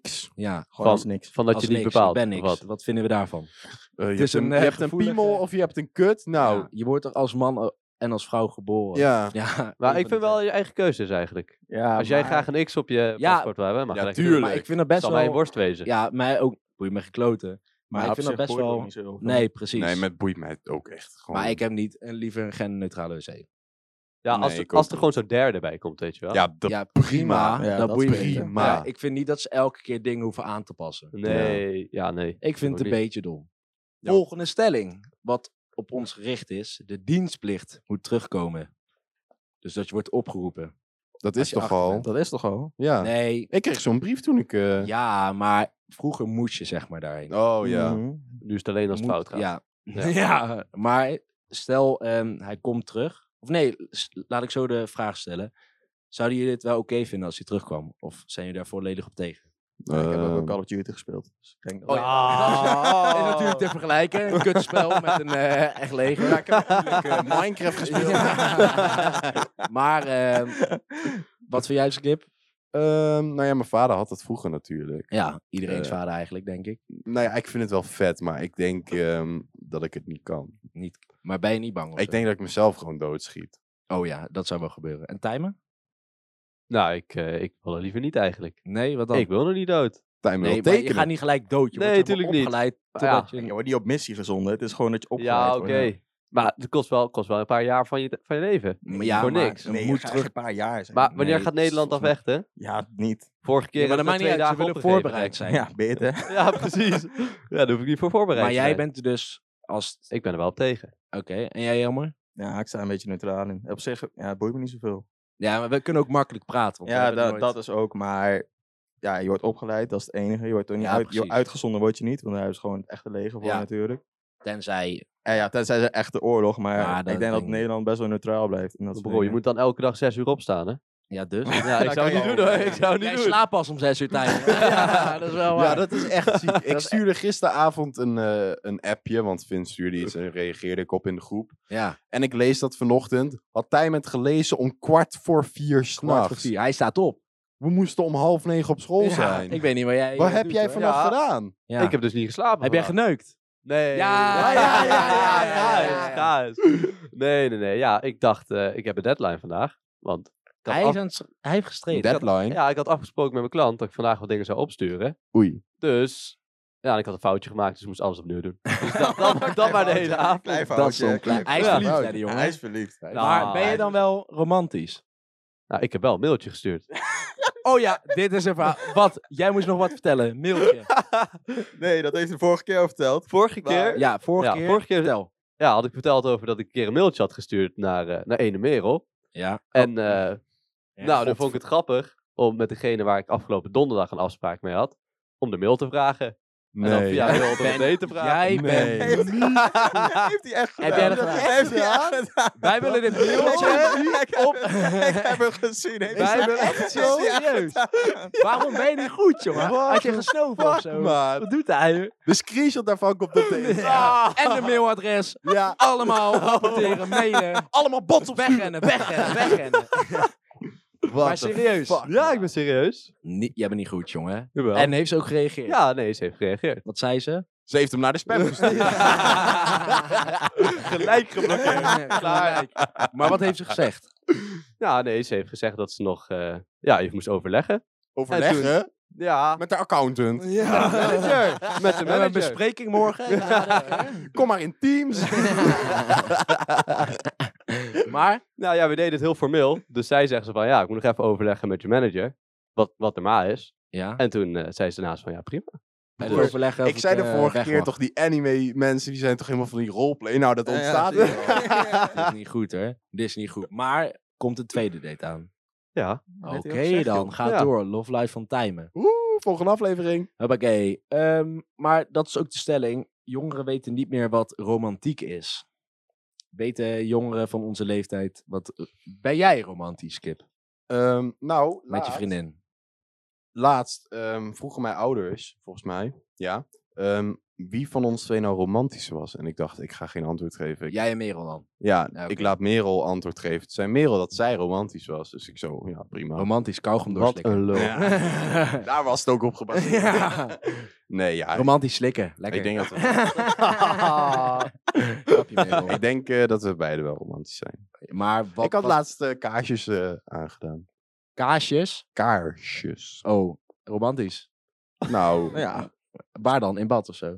[SPEAKER 3] X.
[SPEAKER 1] Ja,
[SPEAKER 4] gewoon als niks.
[SPEAKER 5] Van dat
[SPEAKER 1] als
[SPEAKER 5] je niet
[SPEAKER 1] niks.
[SPEAKER 5] bepaalt.
[SPEAKER 1] Ik ben
[SPEAKER 5] of
[SPEAKER 1] niks.
[SPEAKER 5] Wat.
[SPEAKER 1] Wat? vinden we daarvan?
[SPEAKER 3] Eh, je,
[SPEAKER 1] is
[SPEAKER 3] hebt een,
[SPEAKER 1] een,
[SPEAKER 3] je
[SPEAKER 1] eh,
[SPEAKER 3] hebt een
[SPEAKER 1] gevoelige-
[SPEAKER 3] piemel of je hebt een kut. Nou,
[SPEAKER 1] Ja, je wordt toch als man eh, en als vrouw geboren?
[SPEAKER 3] ja.
[SPEAKER 1] Ja,
[SPEAKER 5] Maar ik vind wel je eigen keuze is eigenlijk.
[SPEAKER 4] Ja,
[SPEAKER 5] Als jij
[SPEAKER 4] maar-
[SPEAKER 5] graag een X op je
[SPEAKER 1] eh? Ja,
[SPEAKER 5] paspoort wil hebben, mag
[SPEAKER 3] ja,
[SPEAKER 5] je lekker
[SPEAKER 3] tuurlijk.
[SPEAKER 5] doen.
[SPEAKER 1] Maar ik vind dat best
[SPEAKER 5] Zal
[SPEAKER 1] wel...
[SPEAKER 5] mijn worst wezen.
[SPEAKER 1] Ja, mij ook. Boeit me gekloten. Maar ik
[SPEAKER 4] op
[SPEAKER 1] vind
[SPEAKER 4] zich
[SPEAKER 1] dat best
[SPEAKER 4] boeit het
[SPEAKER 1] wel...
[SPEAKER 4] ook dus niet zo heel veel.
[SPEAKER 1] Nee, precies.
[SPEAKER 3] Nee, met boeit mij ook echt. Gewoon.
[SPEAKER 1] Maar ik heb niet een liever een genderneutrale wc.
[SPEAKER 5] Ja, als,
[SPEAKER 3] Nee,
[SPEAKER 5] er-
[SPEAKER 3] ik ook
[SPEAKER 5] als er
[SPEAKER 3] niet.
[SPEAKER 5] gewoon zo'n derde bij komt, weet je wel.
[SPEAKER 3] Ja, dat
[SPEAKER 1] ja,
[SPEAKER 3] prima.
[SPEAKER 1] Ja,
[SPEAKER 4] Ja,
[SPEAKER 1] dat
[SPEAKER 4] dat
[SPEAKER 1] boeit me
[SPEAKER 4] prima.
[SPEAKER 1] niet. Maar ik vind niet dat ze elke keer dingen hoeven aan te passen.
[SPEAKER 5] Nee, ja, nee.
[SPEAKER 1] Ik vind het
[SPEAKER 5] Ook
[SPEAKER 1] een
[SPEAKER 5] niet.
[SPEAKER 1] beetje dom. Volgende stelling, wat op ons gericht is. De dienstplicht moet terugkomen. Dus dat je wordt opgeroepen.
[SPEAKER 3] Dat
[SPEAKER 1] Als
[SPEAKER 3] is
[SPEAKER 1] je
[SPEAKER 3] toch
[SPEAKER 1] achter
[SPEAKER 3] al?
[SPEAKER 1] bent.
[SPEAKER 4] Dat is toch al?
[SPEAKER 3] Ja.
[SPEAKER 1] Nee,
[SPEAKER 3] Ik kreeg zo'n brief toen ik... eh,
[SPEAKER 1] ja, maar vroeger moest je zeg maar daarheen.
[SPEAKER 3] Oh ja.
[SPEAKER 4] Mhm.
[SPEAKER 5] Nu is het alleen als het
[SPEAKER 1] Moet-
[SPEAKER 5] fout gaat.
[SPEAKER 1] Ja.
[SPEAKER 5] Ja.
[SPEAKER 1] Ja. maar stel ehm, hij komt terug. Of nee, s- laat ik zo de vraag stellen. Zouden jullie dit wel oké vinden als hij terugkwam? Of zijn jullie daar volledig op tegen?
[SPEAKER 4] Ja, ik heb ook wel
[SPEAKER 3] Ehm,
[SPEAKER 4] Call of Duty gespeeld. Dus ik denk dat-
[SPEAKER 1] Oh ja.
[SPEAKER 5] Ah.
[SPEAKER 1] is natuurlijk te vergelijken. Een kutspel met een eh, echt leger.
[SPEAKER 3] Oh. ja, ik heb natuurlijk, eh, Minecraft gespeeld.
[SPEAKER 1] maar ehm, wat vind jij, dus, Skip?
[SPEAKER 3] Ehm, nou ja, mijn vader had dat vroeger natuurlijk.
[SPEAKER 1] Ja, iedereen's
[SPEAKER 3] Eh.
[SPEAKER 1] vader eigenlijk, denk ik.
[SPEAKER 3] Nou ja, ik vind het wel vet, maar ik denk ehm, dat ik het niet kan.
[SPEAKER 1] Niet, maar ben je niet bang? of
[SPEAKER 3] Ik
[SPEAKER 1] zo?
[SPEAKER 3] denk dat ik mezelf gewoon doodschiet.
[SPEAKER 1] Oh ja, dat zou wel gebeuren. En timen?
[SPEAKER 5] Nou, ik, eh, ik wil er liever niet eigenlijk.
[SPEAKER 1] Nee, wat dan?
[SPEAKER 5] Ik wil nog niet dood.
[SPEAKER 3] Time
[SPEAKER 1] nee,
[SPEAKER 3] wil
[SPEAKER 1] maar je
[SPEAKER 3] tekenen.
[SPEAKER 1] gaat niet gelijk dood. Je
[SPEAKER 5] Nee,
[SPEAKER 1] wordt zeg maar
[SPEAKER 5] tuurlijk niet.
[SPEAKER 1] opgeleid
[SPEAKER 5] Maar
[SPEAKER 1] totdat
[SPEAKER 5] ja.
[SPEAKER 1] je-
[SPEAKER 4] Je wordt niet op missie gezonden. Het is gewoon dat je opgeleid
[SPEAKER 5] Ja, oké.
[SPEAKER 4] wordt.
[SPEAKER 5] Maar het kost wel, kost wel een paar jaar van je, van je leven.
[SPEAKER 1] Maar ja,
[SPEAKER 5] Voor
[SPEAKER 1] maar
[SPEAKER 5] niks.
[SPEAKER 1] dan
[SPEAKER 4] Nee,
[SPEAKER 1] moet
[SPEAKER 4] moet terug
[SPEAKER 1] terug.
[SPEAKER 4] een paar jaar zijn.
[SPEAKER 5] Maar wanneer
[SPEAKER 1] Eh, nee,
[SPEAKER 5] gaat
[SPEAKER 1] het is
[SPEAKER 5] Nederland
[SPEAKER 1] volgens mij-
[SPEAKER 5] afvechten?
[SPEAKER 4] ja, niet.
[SPEAKER 5] Vorige keer
[SPEAKER 1] Ja, maar dat maakt
[SPEAKER 5] hebben we
[SPEAKER 1] niet
[SPEAKER 5] twee
[SPEAKER 1] uit. Ze
[SPEAKER 5] dagen
[SPEAKER 1] willen
[SPEAKER 5] opgegeven,
[SPEAKER 1] voorbereid zijn.
[SPEAKER 4] Ja, beter.
[SPEAKER 5] Ja, precies. Ja, daar hoef ik niet voor voorbereid
[SPEAKER 1] maar
[SPEAKER 5] te
[SPEAKER 1] jij
[SPEAKER 5] zijn.
[SPEAKER 1] bent er dus als.
[SPEAKER 5] Ik ben er wel op tegen.
[SPEAKER 1] Oké, en jij jammer?
[SPEAKER 4] Ja, ik sta een beetje neutraal in. Op zich, ja, het boeit me niet zoveel.
[SPEAKER 1] Ja, maar we kunnen ook makkelijk praten. want we
[SPEAKER 4] Ja,
[SPEAKER 1] hebben
[SPEAKER 4] da-
[SPEAKER 1] nooit-
[SPEAKER 4] dat is ook, maar ja, je wordt opgeleid, dat is het enige. Je wordt er niet
[SPEAKER 1] Ja,
[SPEAKER 4] uit, je-
[SPEAKER 1] precies.
[SPEAKER 4] uitgezonden word je niet, want daar is gewoon het echte leger voor
[SPEAKER 1] Ja.
[SPEAKER 4] natuurlijk.
[SPEAKER 1] Tenzij.
[SPEAKER 4] En ja, tenzij ze echte oorlog, maar
[SPEAKER 1] Ja, dat
[SPEAKER 4] ik denk
[SPEAKER 1] denk
[SPEAKER 4] dat
[SPEAKER 1] ik.
[SPEAKER 4] Nederland best wel neutraal blijft. In dat soort
[SPEAKER 5] Bro, je
[SPEAKER 4] dingen.
[SPEAKER 5] moet dan elke dag zes uur opstaan, hè?
[SPEAKER 1] Ja, dus?
[SPEAKER 5] Ja, ik
[SPEAKER 3] kan
[SPEAKER 5] zou het
[SPEAKER 3] je
[SPEAKER 5] niet doen
[SPEAKER 3] ook.
[SPEAKER 5] hoor. Ik zou het
[SPEAKER 1] Jij
[SPEAKER 5] niet doen.
[SPEAKER 1] slaapt pas om zes uur tijd. ja, dat is wel waar.
[SPEAKER 3] Ja, dat is echt ziek. Ik
[SPEAKER 1] e
[SPEAKER 3] stuurde gisteravond een, eh, een appje, want Vin stuurde iets en reageerde ik op in de groep.
[SPEAKER 1] Ja,
[SPEAKER 3] En ik lees dat vanochtend. Had Tijm het gelezen om kwart voor vier
[SPEAKER 1] kwart voor
[SPEAKER 3] s'nachts.
[SPEAKER 1] vier. Hij staat op.
[SPEAKER 3] We moesten om half negen op school zijn.
[SPEAKER 1] Ik weet niet waar jij...
[SPEAKER 3] Wat
[SPEAKER 1] eh,
[SPEAKER 3] heb
[SPEAKER 1] doet,
[SPEAKER 3] jij
[SPEAKER 1] hoor.
[SPEAKER 3] vannacht
[SPEAKER 5] Ja.
[SPEAKER 3] gedaan?
[SPEAKER 1] Ja.
[SPEAKER 5] Ik heb dus niet geslapen.
[SPEAKER 1] Heb jij
[SPEAKER 5] vandaag.
[SPEAKER 1] geneukt?
[SPEAKER 5] Nee.
[SPEAKER 1] Ja,
[SPEAKER 5] ja,
[SPEAKER 1] ja,
[SPEAKER 5] ja, ja,
[SPEAKER 1] ja, ja, ja.
[SPEAKER 5] ja, ja. Nee, nee, nee. Ja, ik dacht, eh, ik heb een deadline vandaag. Want ik had
[SPEAKER 1] Hij,
[SPEAKER 5] af-
[SPEAKER 1] is aan het s- hij heeft gestreden.
[SPEAKER 3] Deadline.
[SPEAKER 5] Ja, ik had afgesproken met mijn klant dat ik vandaag wat dingen zou opsturen.
[SPEAKER 3] Oei.
[SPEAKER 5] Dus, ja, en ik had een foutje gemaakt, dus ik moest alles opnieuw doen. Dus dat, dat, dat maar de hele avond.
[SPEAKER 4] Klein
[SPEAKER 1] dat
[SPEAKER 4] foutje,
[SPEAKER 1] stond
[SPEAKER 4] klein
[SPEAKER 1] Hij is
[SPEAKER 5] Ja.
[SPEAKER 1] verliefd,
[SPEAKER 3] Ja.
[SPEAKER 1] hè, die jongen.
[SPEAKER 4] Hij is verliefd.
[SPEAKER 5] Nou,
[SPEAKER 1] maar ben je
[SPEAKER 5] hij-
[SPEAKER 1] dan wel romantisch?
[SPEAKER 5] Nou, ik heb wel een mailtje gestuurd.
[SPEAKER 1] Oh ja, dit is een verhaal. Wat? Jij moest nog wat vertellen. Mailtje.
[SPEAKER 4] Nee, dat heeft hij de vorige keer al verteld.
[SPEAKER 5] Vorige
[SPEAKER 4] Maar-
[SPEAKER 5] keer, ja.
[SPEAKER 1] Ja, vorige
[SPEAKER 5] Ja,
[SPEAKER 1] keer.
[SPEAKER 5] vorige keer-
[SPEAKER 1] Vertel.
[SPEAKER 5] had ik verteld over dat ik een keer een mailtje had gestuurd naar, eh naar Ene Merel.
[SPEAKER 1] Ja.
[SPEAKER 5] En eh,
[SPEAKER 1] Ja,
[SPEAKER 5] nou, dan vond ik het grappig om met degene waar ik afgelopen donderdag een afspraak mee had, om de mail te vragen. En dan
[SPEAKER 3] Nee.
[SPEAKER 5] via mail om een date te vragen.
[SPEAKER 1] Jij
[SPEAKER 3] Nee.
[SPEAKER 1] bent
[SPEAKER 4] Heeft,
[SPEAKER 1] niet goed.
[SPEAKER 4] heeft hij echt gedaan?
[SPEAKER 1] Heb jij dat gedaan?
[SPEAKER 4] Heeft hij echt gedaan?
[SPEAKER 1] Wij willen dit mailtje.
[SPEAKER 4] Ik heb-
[SPEAKER 1] op-
[SPEAKER 4] Ik heb het gezien. Heeft
[SPEAKER 1] Wij
[SPEAKER 4] hij
[SPEAKER 1] willen echt zo serieus. Waarom ben je niet goed, jongen? Had je gesnoven of zo?
[SPEAKER 3] Maar
[SPEAKER 1] Wat doet hij?
[SPEAKER 3] de screenshot daarvan komt op de
[SPEAKER 1] Ja. En de mailadres.
[SPEAKER 3] Ja.
[SPEAKER 1] Allemaal
[SPEAKER 4] Oh.
[SPEAKER 1] rapporteren, mailen.
[SPEAKER 3] Allemaal bots op
[SPEAKER 1] Wegrennen, wegrennen, wegrennen. Maar serieus.
[SPEAKER 5] Ja, ik ben serieus.
[SPEAKER 1] Nee, jij bent niet goed, jongen.
[SPEAKER 5] Jawel.
[SPEAKER 1] En heeft ze ook gereageerd?
[SPEAKER 5] Ja, nee, ze heeft gereageerd.
[SPEAKER 1] Wat zei ze?
[SPEAKER 3] Ze heeft hem naar de spam gestuurd.
[SPEAKER 5] Gelijk geblokkeerd.
[SPEAKER 1] Klaar. Maar wat heeft ze gezegd?
[SPEAKER 5] Ja, nee, ze heeft gezegd dat ze nog... eh, ja, je moest overleggen.
[SPEAKER 3] Overleggen
[SPEAKER 5] Ja.
[SPEAKER 3] met de accountant.
[SPEAKER 5] Met de manager. Met de
[SPEAKER 1] We hebben een
[SPEAKER 5] manager.
[SPEAKER 1] bespreking morgen.
[SPEAKER 3] Kom maar in Teams.
[SPEAKER 1] Maar?
[SPEAKER 5] Nou ja, we deden het heel formeel. Dus zij zegt ze van, ja, ik moet nog even overleggen met je manager. Wat, wat er maar is.
[SPEAKER 1] Ja.
[SPEAKER 5] En toen eh, zei ze daarnaast van, ja, prima.
[SPEAKER 1] En
[SPEAKER 5] Dus-
[SPEAKER 1] overleggen of
[SPEAKER 3] Ik zei de
[SPEAKER 1] eh,
[SPEAKER 3] vorige
[SPEAKER 1] weg
[SPEAKER 3] keer
[SPEAKER 1] mag.
[SPEAKER 3] toch, die anime mensen, die zijn toch helemaal van die roleplay. Nou, dat
[SPEAKER 4] Ja, ja,
[SPEAKER 3] ontstaat.
[SPEAKER 4] zie je
[SPEAKER 3] hier.
[SPEAKER 1] Dit is niet goed hoor. Dit is niet goed. Maar komt een tweede date aan.
[SPEAKER 5] Ja.
[SPEAKER 1] Oké
[SPEAKER 4] Net heel gezegd,
[SPEAKER 1] dan,
[SPEAKER 4] joh.
[SPEAKER 1] ga
[SPEAKER 5] Ja.
[SPEAKER 1] door. Love Life van Tijmen.
[SPEAKER 3] Oeh, volgende aflevering.
[SPEAKER 1] Hoppakee. Ehm, maar dat is ook de stelling. Jongeren weten niet meer wat romantiek is. Weten jongeren van onze leeftijd wat... eh, Ben jij romantisch, Kip?
[SPEAKER 3] Ehm, nou,
[SPEAKER 1] Met je
[SPEAKER 3] laatst-
[SPEAKER 1] vriendin?
[SPEAKER 3] Laatst ehm, vroegen mijn ouders, volgens mij, ja, ehm, wie van ons twee nou romantisch was. En ik dacht, ik ga geen antwoord geven. Ik-
[SPEAKER 1] Jij en Merel dan?
[SPEAKER 3] ja,
[SPEAKER 1] Ja,
[SPEAKER 3] ik
[SPEAKER 1] oké.
[SPEAKER 3] laat Merel antwoord geven. Het zei Merel dat zij romantisch was. Dus ik zo, ja, prima.
[SPEAKER 1] Romantisch kauwgom
[SPEAKER 5] Wat
[SPEAKER 1] doorslikken.
[SPEAKER 5] een lul.
[SPEAKER 3] Ja. Daar was het ook op gebaseerd.
[SPEAKER 1] Ja.
[SPEAKER 3] Nee, ja.
[SPEAKER 1] Romantisch slikken. Lekker.
[SPEAKER 3] Ik denk dat we,
[SPEAKER 1] Grapje, Merel.
[SPEAKER 3] ik denk, eh, dat we beide wel romantisch zijn.
[SPEAKER 1] Maar wat
[SPEAKER 3] ik had
[SPEAKER 1] was-
[SPEAKER 3] laatst eh, kaarsjes eh, aangedaan.
[SPEAKER 1] Kaasjes.
[SPEAKER 3] Kaarsjes.
[SPEAKER 1] Oh, romantisch.
[SPEAKER 3] Nou,
[SPEAKER 4] Nou ja,
[SPEAKER 1] Waar dan? In bad of zo?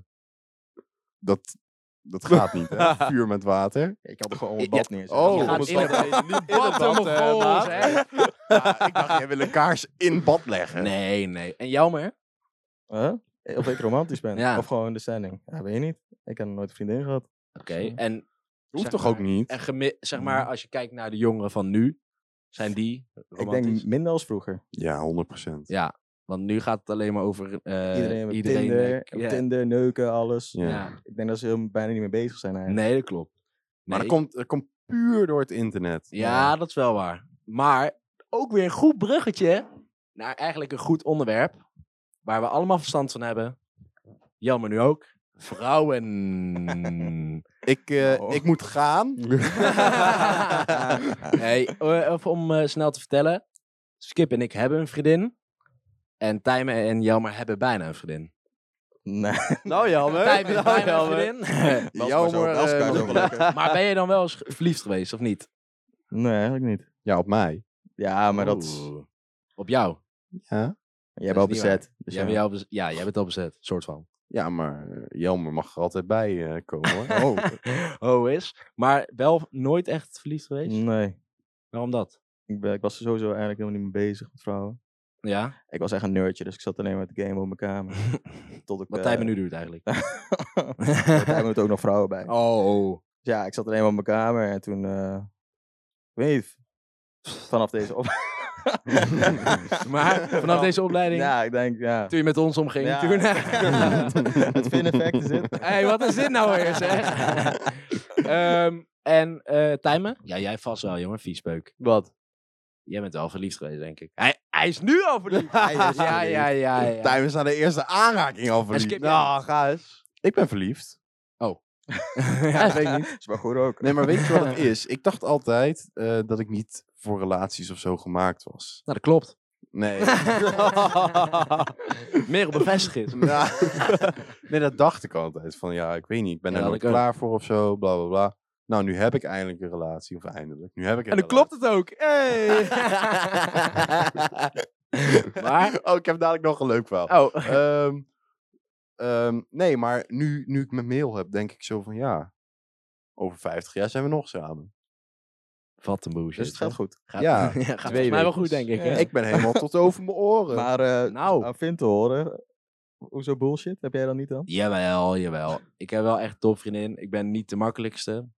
[SPEAKER 3] dat, dat gaat niet. Hè? Vuur met water.
[SPEAKER 4] ik had er gewoon
[SPEAKER 1] Ja.
[SPEAKER 4] een bad neer.
[SPEAKER 3] Oh,
[SPEAKER 1] Je gaat
[SPEAKER 3] op het
[SPEAKER 1] in
[SPEAKER 3] bad.
[SPEAKER 1] een- Wat
[SPEAKER 5] bad,
[SPEAKER 1] een
[SPEAKER 5] eh,
[SPEAKER 1] Mongool,
[SPEAKER 5] maat.
[SPEAKER 1] zeg.
[SPEAKER 3] Ja, ik dacht, jij wil een kaars in bad leggen.
[SPEAKER 1] Nee, nee. En jammer.
[SPEAKER 4] Huh? Of ik romantisch ben.
[SPEAKER 1] Ja.
[SPEAKER 4] Of gewoon de stelling. Ja, weet je niet. Ik heb nog nooit een vriendin gehad.
[SPEAKER 1] Oké. Hm. En,
[SPEAKER 3] Hoeft
[SPEAKER 1] Zeg
[SPEAKER 3] toch
[SPEAKER 1] maar.
[SPEAKER 3] ook niet?
[SPEAKER 1] en gemi- zeg maar, als je kijkt naar de jongeren van nu, zijn die romantisch?
[SPEAKER 4] Ik denk minder als vroeger.
[SPEAKER 3] Ja, 100%.
[SPEAKER 1] Ja, want nu gaat het alleen maar over eh,
[SPEAKER 4] iedereen met
[SPEAKER 1] iedereen, eh,
[SPEAKER 4] Tinder,
[SPEAKER 1] k- ja.
[SPEAKER 4] Tinder, neuken, alles.
[SPEAKER 3] Ja.
[SPEAKER 1] Ja.
[SPEAKER 4] Ik denk dat ze heel bijna niet mee bezig zijn eigenlijk.
[SPEAKER 1] Nee, dat klopt.
[SPEAKER 3] Maar
[SPEAKER 1] Nee,
[SPEAKER 3] dat komt, dat komt puur door het internet.
[SPEAKER 1] Ja, dat is wel waar. Maar ook weer een goed bruggetje naar eigenlijk een goed onderwerp. Waar we allemaal verstand van hebben. Jammer nu ook. Vrouwen.
[SPEAKER 3] Ik, eh,
[SPEAKER 4] Oh.
[SPEAKER 3] ik moet gaan.
[SPEAKER 1] hey, eh, even om eh, snel te vertellen. Skip en ik hebben een vriendin. En Tijmen en Jelmer hebben bijna een vriendin.
[SPEAKER 4] Nee.
[SPEAKER 5] Nou, jammer.
[SPEAKER 1] Tijmen is
[SPEAKER 5] Nou,
[SPEAKER 1] bijna een
[SPEAKER 5] jammer.
[SPEAKER 1] vriendin.
[SPEAKER 4] Bel ze maar zo,
[SPEAKER 3] Jammer,
[SPEAKER 4] bel ze
[SPEAKER 3] eh,
[SPEAKER 4] maar zo
[SPEAKER 3] moet-
[SPEAKER 4] gelukkig.
[SPEAKER 1] maar ben je dan wel eens ge- verliefd geweest of niet?
[SPEAKER 4] Nee, eigenlijk niet.
[SPEAKER 3] Ja, op mij.
[SPEAKER 4] Ja, maar dat is...
[SPEAKER 1] Oeh. Op jou?
[SPEAKER 4] Jij bent al
[SPEAKER 1] is niet waar.
[SPEAKER 4] bezet. Dus
[SPEAKER 1] jij,
[SPEAKER 4] ja.
[SPEAKER 1] bent jou bez- ja, jij bent al bezet. Soort van.
[SPEAKER 3] Ja, maar eh, Jelmer mag er altijd bij eh, komen. hoor. Oh,
[SPEAKER 1] oh is. Maar wel nooit echt verliefd geweest?
[SPEAKER 4] Nee.
[SPEAKER 1] Waarom dat?
[SPEAKER 4] Ik, ben, ik was er sowieso eigenlijk helemaal niet mee bezig met vrouwen.
[SPEAKER 1] Ja,
[SPEAKER 4] Ik was echt een nerdje, dus ik zat alleen maar te gamen op mijn kamer. Tot ik,
[SPEAKER 1] wat
[SPEAKER 4] eh,
[SPEAKER 1] Tijmen nu doet eigenlijk.
[SPEAKER 4] Daar hebben het ook nog vrouwen bij.
[SPEAKER 1] oh.
[SPEAKER 4] Dus ja, ik zat alleen maar op mijn kamer en toen... eh, ik weet niet, vanaf deze op...
[SPEAKER 1] Maar vanaf deze opleiding,
[SPEAKER 4] Nou, Ja, ik denk, ja.
[SPEAKER 1] toen je met ons omging,
[SPEAKER 4] Ja.
[SPEAKER 1] toen...
[SPEAKER 4] het fin-effect is het.
[SPEAKER 1] Hé, hey, wat is dit nou weer, zeg? Ehm, en eh Tijmen? Ja, jij vast wel, jongen. Viespeuk.
[SPEAKER 5] Wat?
[SPEAKER 1] Jij bent wel verliefd geweest, denk ik. Hij, hij is nu al verliefd.
[SPEAKER 3] Hij is
[SPEAKER 1] ja,
[SPEAKER 3] verliefd.
[SPEAKER 1] ja, ja, ja.
[SPEAKER 3] Time is aan de eerste aanraking al
[SPEAKER 1] En
[SPEAKER 3] verliefd.
[SPEAKER 1] skip jij
[SPEAKER 5] Nou, ga eens.
[SPEAKER 3] Ik ben verliefd.
[SPEAKER 1] Ja,
[SPEAKER 4] weet niet. Is maar goed ook. Dus
[SPEAKER 3] Nee, maar weet je wat het is? Ik dacht altijd eh, dat ik niet voor relaties of zo gemaakt was.
[SPEAKER 1] Nou, dat klopt.
[SPEAKER 3] Nee.
[SPEAKER 1] Meer op bevestiging.
[SPEAKER 3] Nou, nee, dat dacht ik altijd. Van ja, ik weet niet, ik ben
[SPEAKER 1] Ja,
[SPEAKER 3] er
[SPEAKER 1] dat
[SPEAKER 3] nooit
[SPEAKER 1] ik ook.
[SPEAKER 3] klaar voor of zo, bla bla bla. Nou, nu heb ik eindelijk een relatie, of eindelijk. Nu heb ik een
[SPEAKER 1] En dan klopt het
[SPEAKER 3] relatie.
[SPEAKER 1] ook. Hey. maar,
[SPEAKER 3] Oh, ik heb dadelijk nog een leuk verhaal.
[SPEAKER 1] oh,
[SPEAKER 3] Ehm, ehm, nee, maar nu, nu ik mijn mail heb, denk ik zo van ja, over 50 jaar zijn we nog samen.
[SPEAKER 1] wat een bullshit.
[SPEAKER 4] Dus het gaat
[SPEAKER 1] hè?
[SPEAKER 4] goed.
[SPEAKER 1] Gaat,
[SPEAKER 3] Ja,
[SPEAKER 1] ja, gaat volgens mij wel
[SPEAKER 5] weken.
[SPEAKER 1] goed, denk ik. hè?
[SPEAKER 3] Ik ben helemaal tot over mijn oren.
[SPEAKER 4] Maar eh
[SPEAKER 1] Nou.
[SPEAKER 4] aan Vin te horen, hoezo bullshit? Heb jij dat niet dan?
[SPEAKER 1] Jawel, jawel. Ik heb wel echt een topvriendin. Ik ben niet de makkelijkste.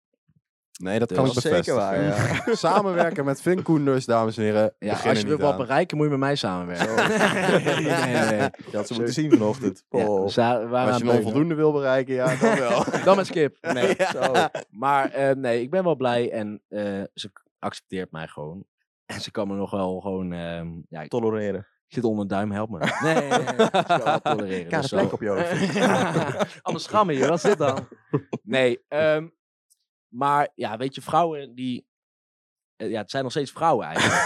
[SPEAKER 3] nee, dat
[SPEAKER 1] dat
[SPEAKER 3] kan ik
[SPEAKER 1] is
[SPEAKER 4] zeker
[SPEAKER 3] bevestigen.
[SPEAKER 4] waar,
[SPEAKER 3] Samenwerken met Finn Koenders, dames en heren.
[SPEAKER 1] Ja,
[SPEAKER 3] begin
[SPEAKER 1] als
[SPEAKER 3] er
[SPEAKER 1] je wil
[SPEAKER 3] niet
[SPEAKER 1] wat
[SPEAKER 3] aan.
[SPEAKER 1] bereiken, moet je met mij samenwerken.
[SPEAKER 4] Oh.
[SPEAKER 1] nee, nee, nee.
[SPEAKER 4] Je had ze moeten zien vanochtend.
[SPEAKER 1] Ja,
[SPEAKER 4] Paul.
[SPEAKER 1] za- we waren aan
[SPEAKER 3] Als
[SPEAKER 1] het
[SPEAKER 3] je een
[SPEAKER 1] beuken.
[SPEAKER 3] onvoldoende wil bereiken, ja, dan wel.
[SPEAKER 1] Dan met Skip.
[SPEAKER 4] nee, zo.
[SPEAKER 1] Maar eh, nee, ik ben wel blij en eh, ze k- accepteert mij gewoon. En ze kan me nog wel gewoon... ehm, ja, ik
[SPEAKER 4] Tolereren.
[SPEAKER 1] zit onder een duim, help me. Nee, nee, nee, nee. Ze kan wel tolereren.
[SPEAKER 4] Kare
[SPEAKER 1] dus
[SPEAKER 4] plek
[SPEAKER 1] zo-
[SPEAKER 4] op je hoofd.
[SPEAKER 1] Anders gaan we hier, wat is dit dan? Nee, ehm, maar ja, weet je, vrouwen die... eh, Ja, het zijn nog steeds vrouwen eigenlijk.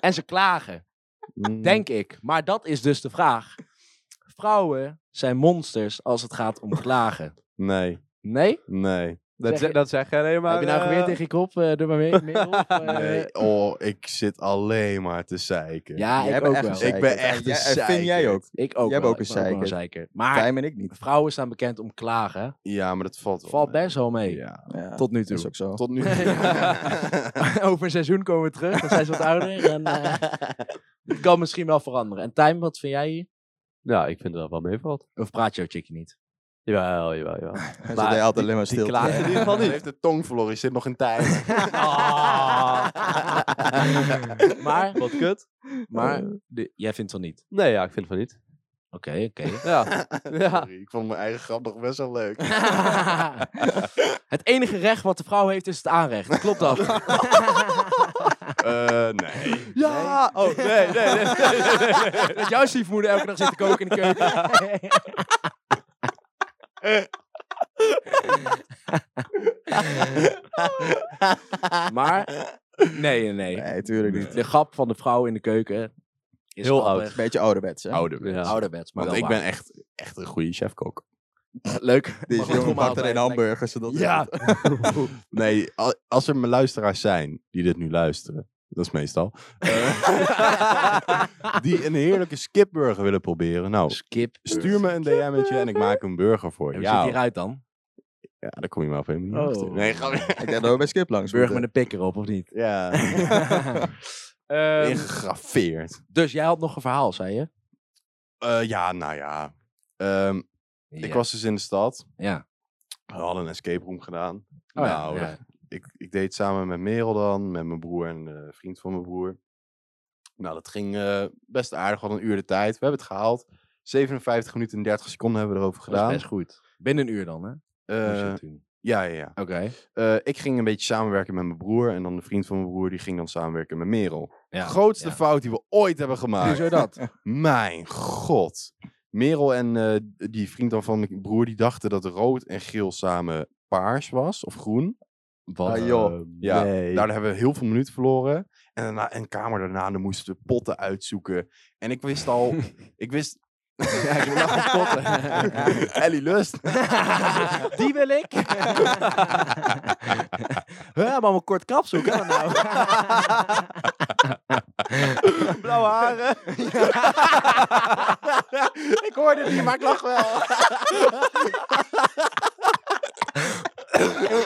[SPEAKER 1] en ze klagen.
[SPEAKER 4] Mm.
[SPEAKER 1] Denk ik. Maar dat is dus de vraag. Vrouwen zijn monsters als het gaat om klagen.
[SPEAKER 3] Nee,
[SPEAKER 1] Nee?
[SPEAKER 3] nee.
[SPEAKER 1] Zeg
[SPEAKER 5] Dat,
[SPEAKER 1] je-
[SPEAKER 5] zeg, dat zeg jij nee, maar...
[SPEAKER 1] Heb je nou
[SPEAKER 5] eh,
[SPEAKER 1] geweer tegen je kop? Eh, doe maar mee. meer op, eh.
[SPEAKER 3] Nee, oh, ik zit alleen maar te zeiken.
[SPEAKER 1] Ja,
[SPEAKER 4] Jij
[SPEAKER 1] ik
[SPEAKER 4] bent
[SPEAKER 1] ook
[SPEAKER 4] echt Ah, een
[SPEAKER 1] wel.
[SPEAKER 4] zeiker.
[SPEAKER 3] Ik ben echt
[SPEAKER 4] Ja,
[SPEAKER 3] een
[SPEAKER 4] en Vin, jij
[SPEAKER 3] zeikerd.
[SPEAKER 4] ook.
[SPEAKER 1] Ik ook
[SPEAKER 4] Jij
[SPEAKER 1] wel.
[SPEAKER 4] bent ook een
[SPEAKER 1] ik ben wel zeiker. Maar
[SPEAKER 4] Time en ik niet.
[SPEAKER 1] vrouwen staan bekend om klagen.
[SPEAKER 3] Ja, maar dat valt wel eh,
[SPEAKER 1] Valt
[SPEAKER 3] mee.
[SPEAKER 1] best wel mee.
[SPEAKER 3] Ja,
[SPEAKER 4] Ja,
[SPEAKER 1] Tot nu
[SPEAKER 4] dat is
[SPEAKER 1] toe.
[SPEAKER 4] ook zo.
[SPEAKER 3] tot nu.
[SPEAKER 1] Over een seizoen komen we terug. Dan zijn ze wat ouder. En, eh, het kan misschien wel veranderen. En Time, wat vind jij hier?
[SPEAKER 5] Nou, ik vind dat wel meevalt.
[SPEAKER 1] Of praat jouw chickie niet?
[SPEAKER 5] Jawel, jawel, jawel.
[SPEAKER 4] Hij
[SPEAKER 5] Maar
[SPEAKER 4] zat altijd alleen maar
[SPEAKER 5] die
[SPEAKER 4] stil.
[SPEAKER 5] klagen in ieder geval
[SPEAKER 3] Hij
[SPEAKER 5] niet.
[SPEAKER 3] heeft de tong verloren, je zit nog in tijd.
[SPEAKER 5] Ah.
[SPEAKER 1] maar
[SPEAKER 5] Wat kut.
[SPEAKER 1] maar de- jij vindt van niet.
[SPEAKER 5] Nee, ja, ik vind van niet.
[SPEAKER 1] Oké, oké.
[SPEAKER 5] Ja. ja.
[SPEAKER 3] Sorry, ik vond mijn eigen grap nog best wel leuk.
[SPEAKER 1] het enige recht wat de vrouw heeft is het aanrecht. Klopt dat?
[SPEAKER 3] Eh, nee.
[SPEAKER 5] Ja! Oh, nee, nee, nee.
[SPEAKER 1] dat jouw stiefmoeder elke dag zit te koken in de keuken. maar, nee, nee, nee.
[SPEAKER 4] Nee, tuurlijk niet.
[SPEAKER 1] De grap van de vrouw in de keuken is
[SPEAKER 5] Heel
[SPEAKER 1] grappig.
[SPEAKER 5] oud.
[SPEAKER 4] Beetje ouderwets, hè?
[SPEAKER 3] Ouderwets.
[SPEAKER 5] Ja.
[SPEAKER 1] Ouderwets, maar
[SPEAKER 3] Want
[SPEAKER 1] wel
[SPEAKER 3] ik
[SPEAKER 1] waar.
[SPEAKER 3] ben echt, echt een goede chefkok.
[SPEAKER 1] Leuk.
[SPEAKER 4] Deze
[SPEAKER 1] Maar goed,
[SPEAKER 4] jongen pakt
[SPEAKER 1] maaltijd,
[SPEAKER 4] er een
[SPEAKER 1] lekker.
[SPEAKER 4] hamburger, zodat...
[SPEAKER 3] Ja. nee, al- als er mijn luisteraars zijn die dit nu luisteren, dat is meestal, eh, die een heerlijke skipburger willen proberen, nou,
[SPEAKER 1] Skip.
[SPEAKER 3] stuur me een DM'tje en ik maak een burger voor
[SPEAKER 1] Hoe
[SPEAKER 3] je.
[SPEAKER 1] ziet
[SPEAKER 3] Ja,
[SPEAKER 1] die eruit dan?
[SPEAKER 3] ja, daar kom je maar op een manier
[SPEAKER 1] Oh.
[SPEAKER 3] achter. Nee, ga
[SPEAKER 4] Ik denk dat we bij Skip langs
[SPEAKER 1] Burger met
[SPEAKER 4] moeten.
[SPEAKER 1] een pikker op, of niet?
[SPEAKER 3] Ja,
[SPEAKER 1] Ehm,
[SPEAKER 3] ingegraveerd.
[SPEAKER 1] dus jij had nog een verhaal, zei je?
[SPEAKER 3] Eh, ja, nou ja. Ehm, Ik was dus in de stad.
[SPEAKER 1] Ja.
[SPEAKER 3] We hadden een escape room gedaan.
[SPEAKER 1] Oh, ja,
[SPEAKER 3] nou,
[SPEAKER 1] ja.
[SPEAKER 3] dat- Ik, ik deed het samen met Merel dan, met mijn broer en eh, een vriend van mijn broer. Nou, dat ging eh, best aardig, we hadden een uur de tijd. We hebben het gehaald. 57 minuten en 30 seconden hebben we erover
[SPEAKER 1] Dat is
[SPEAKER 3] gedaan.
[SPEAKER 1] best goed. Binnen een uur dan, hè? Moest je
[SPEAKER 3] Eh,
[SPEAKER 1] het doen.
[SPEAKER 3] ja, ja, ja.
[SPEAKER 1] Oké.
[SPEAKER 3] Eh, ik ging een beetje samenwerken met mijn broer. En dan de vriend van mijn broer, die ging dan samenwerken met Merel.
[SPEAKER 1] Ja,
[SPEAKER 3] Grootste
[SPEAKER 1] ja.
[SPEAKER 3] fout die we ooit hebben gemaakt.
[SPEAKER 1] Hoezo dat?
[SPEAKER 3] Mijn god. Merel en eh, die vriend dan van mijn broer, die dachten dat rood en geel samen paars was, of groen.
[SPEAKER 1] Wat?
[SPEAKER 4] Ah, joh.
[SPEAKER 3] Ja,
[SPEAKER 5] Nee.
[SPEAKER 3] daar hebben we heel veel minuten verloren. En daarna een kamer daarna, dan moesten we potten uitzoeken. En ik wist al, ik wist... ja, ik lag op potten. Ellie Lust.
[SPEAKER 1] Die wil ik. Huh, maar een kort kap zoeken dan nou.
[SPEAKER 3] Blauwe haren. ik hoorde het niet, maar ik lag wel.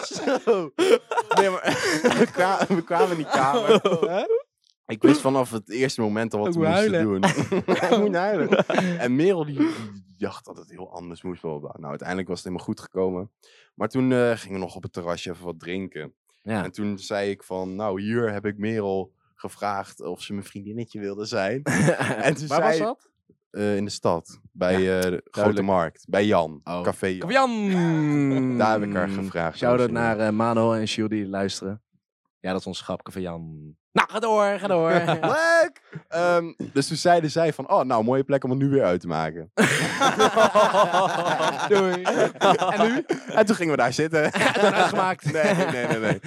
[SPEAKER 3] Zo. Nee, maar we, kwa- we kwamen in die kamer. Ik wist vanaf het eerste moment al wat we
[SPEAKER 1] moet
[SPEAKER 3] moesten doen. Ik moet huilen. En Merel die, die dacht dat het heel anders moest. bla, bla, bla. Nou, uiteindelijk was het helemaal goed gekomen. Maar toen eh, gingen we nog op het terrasje even wat drinken.
[SPEAKER 1] Ja.
[SPEAKER 3] En toen zei ik van, nou, hier heb ik Merel gevraagd of ze mijn vriendinnetje wilde zijn. En toen
[SPEAKER 1] Waar was
[SPEAKER 3] zei-
[SPEAKER 1] dat?
[SPEAKER 3] Eh, in de stad, bij eh, de Grote Markt, bij Jan,
[SPEAKER 1] Oh.
[SPEAKER 3] Café Jan.
[SPEAKER 1] Jan.
[SPEAKER 3] Daar heb ik haar gevraagd.
[SPEAKER 1] Shout-out
[SPEAKER 3] dames en
[SPEAKER 1] naar eh, Mano en Shield die luisteren. Ja, dat is ons grapje van Jan. Nou, ga door, ga door.
[SPEAKER 3] Leuk! Ehm, dus toen zeiden zij van, oh, nou, mooie plek om het nu weer uit te maken.
[SPEAKER 1] Doei.
[SPEAKER 3] en nu? En toen gingen we daar zitten.
[SPEAKER 1] uitgemaakt.
[SPEAKER 3] Nee, nee, nee, nee.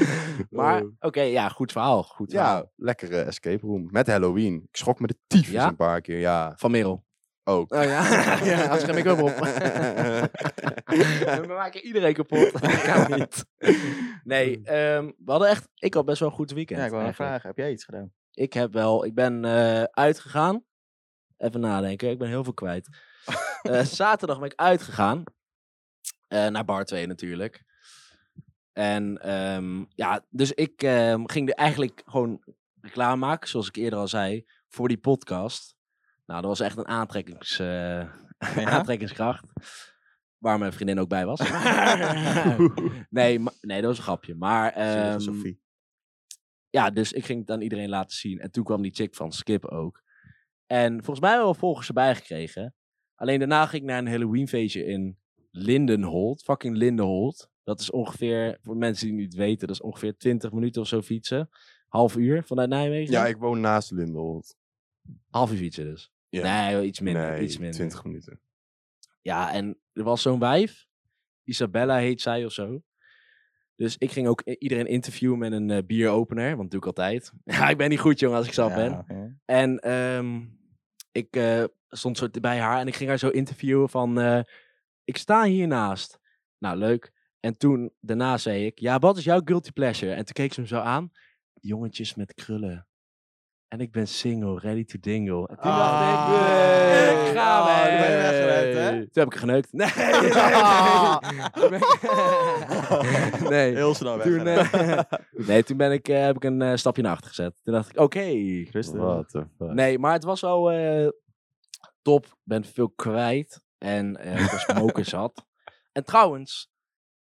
[SPEAKER 1] Maar
[SPEAKER 3] Oh.
[SPEAKER 1] oké, ja, goed verhaal. Goed verhaal.
[SPEAKER 3] ja, lekkere escape room. Met Halloween. Ik schrok me de tyfus
[SPEAKER 1] Ja?
[SPEAKER 3] een paar keer, ja.
[SPEAKER 1] Van Merel.
[SPEAKER 3] Ook.
[SPEAKER 1] Oh ja, ja dat scherm ik ook op. We maken iedereen kapot. Dat kan niet. Nee, ehm, we hadden echt... Ik had best wel een goed weekend.
[SPEAKER 4] Ja, ik wil nog
[SPEAKER 1] eigenlijk.
[SPEAKER 4] vragen. Heb jij iets gedaan?
[SPEAKER 1] Ik heb wel, ik ben eh, uitgegaan. Even nadenken, ik ben heel veel kwijt. Eh, zaterdag ben ik uitgegaan. Eh, naar bar 2 natuurlijk. En ehm, ja, dus ik ehm, ging er eigenlijk gewoon reclame maken, zoals ik eerder al zei, voor die podcast. Nou, dat was echt een aantrekkings, eh, aantrekkingskracht. Waar mijn vriendin ook bij was. nee, ma- nee, dat was een grapje. Maar ehm,
[SPEAKER 4] Sophie.
[SPEAKER 1] ja, dus ik ging het aan iedereen laten zien. En toen kwam die chick van Skip ook. En volgens mij hebben we wel volgers erbij gekregen. Alleen daarna ging ik naar een Halloween feestje in Lindenholt. Fucking Lindenholt. Dat is ongeveer, voor mensen die het niet weten, dat is ongeveer 20 minuten of zo fietsen. Half uur vanuit Nijmegen.
[SPEAKER 3] ja, ik woon naast Lindelholt.
[SPEAKER 1] Half uur fietsen dus.
[SPEAKER 3] Ja.
[SPEAKER 1] Nee, wel iets minder.
[SPEAKER 3] Nee,
[SPEAKER 1] iets minder.
[SPEAKER 3] 20 minuten.
[SPEAKER 1] Ja, en er was zo'n wijf. Isabella heet zij of zo. Dus ik ging ook i- iedereen interviewen met een eh, bieropener. Want dat doe ik altijd. Ja, ik ben niet goed, jongen, als ik zelf ben. En ehm, ik eh, stond zo bij haar en ik ging haar zo interviewen van... eh, ik sta hiernaast. Nou, leuk. En toen, daarna zei ik... Ja, wat is jouw guilty pleasure? En toen keek ze hem zo aan. Jongetjes met krullen. En ik ben single, ready to dingle. En toen dacht
[SPEAKER 5] Ah.
[SPEAKER 1] ik... Ik ga
[SPEAKER 4] Ah,
[SPEAKER 1] weg.
[SPEAKER 4] dan ben je weggeruimd, hè?
[SPEAKER 1] Toen heb ik er geneukt. Nee, nee, nee. Toen ben ik- nee.
[SPEAKER 4] Heel snel weg.
[SPEAKER 1] Toen, eh, nee, toen ben ik, eh, heb ik een eh, stapje naar achter gezet. Toen dacht ik, oké,
[SPEAKER 4] Christen.
[SPEAKER 3] What the fuck.
[SPEAKER 1] Nee, maar het was wel eh, top. Ik Ben veel kwijt. En eh ik was moker zat. En trouwens,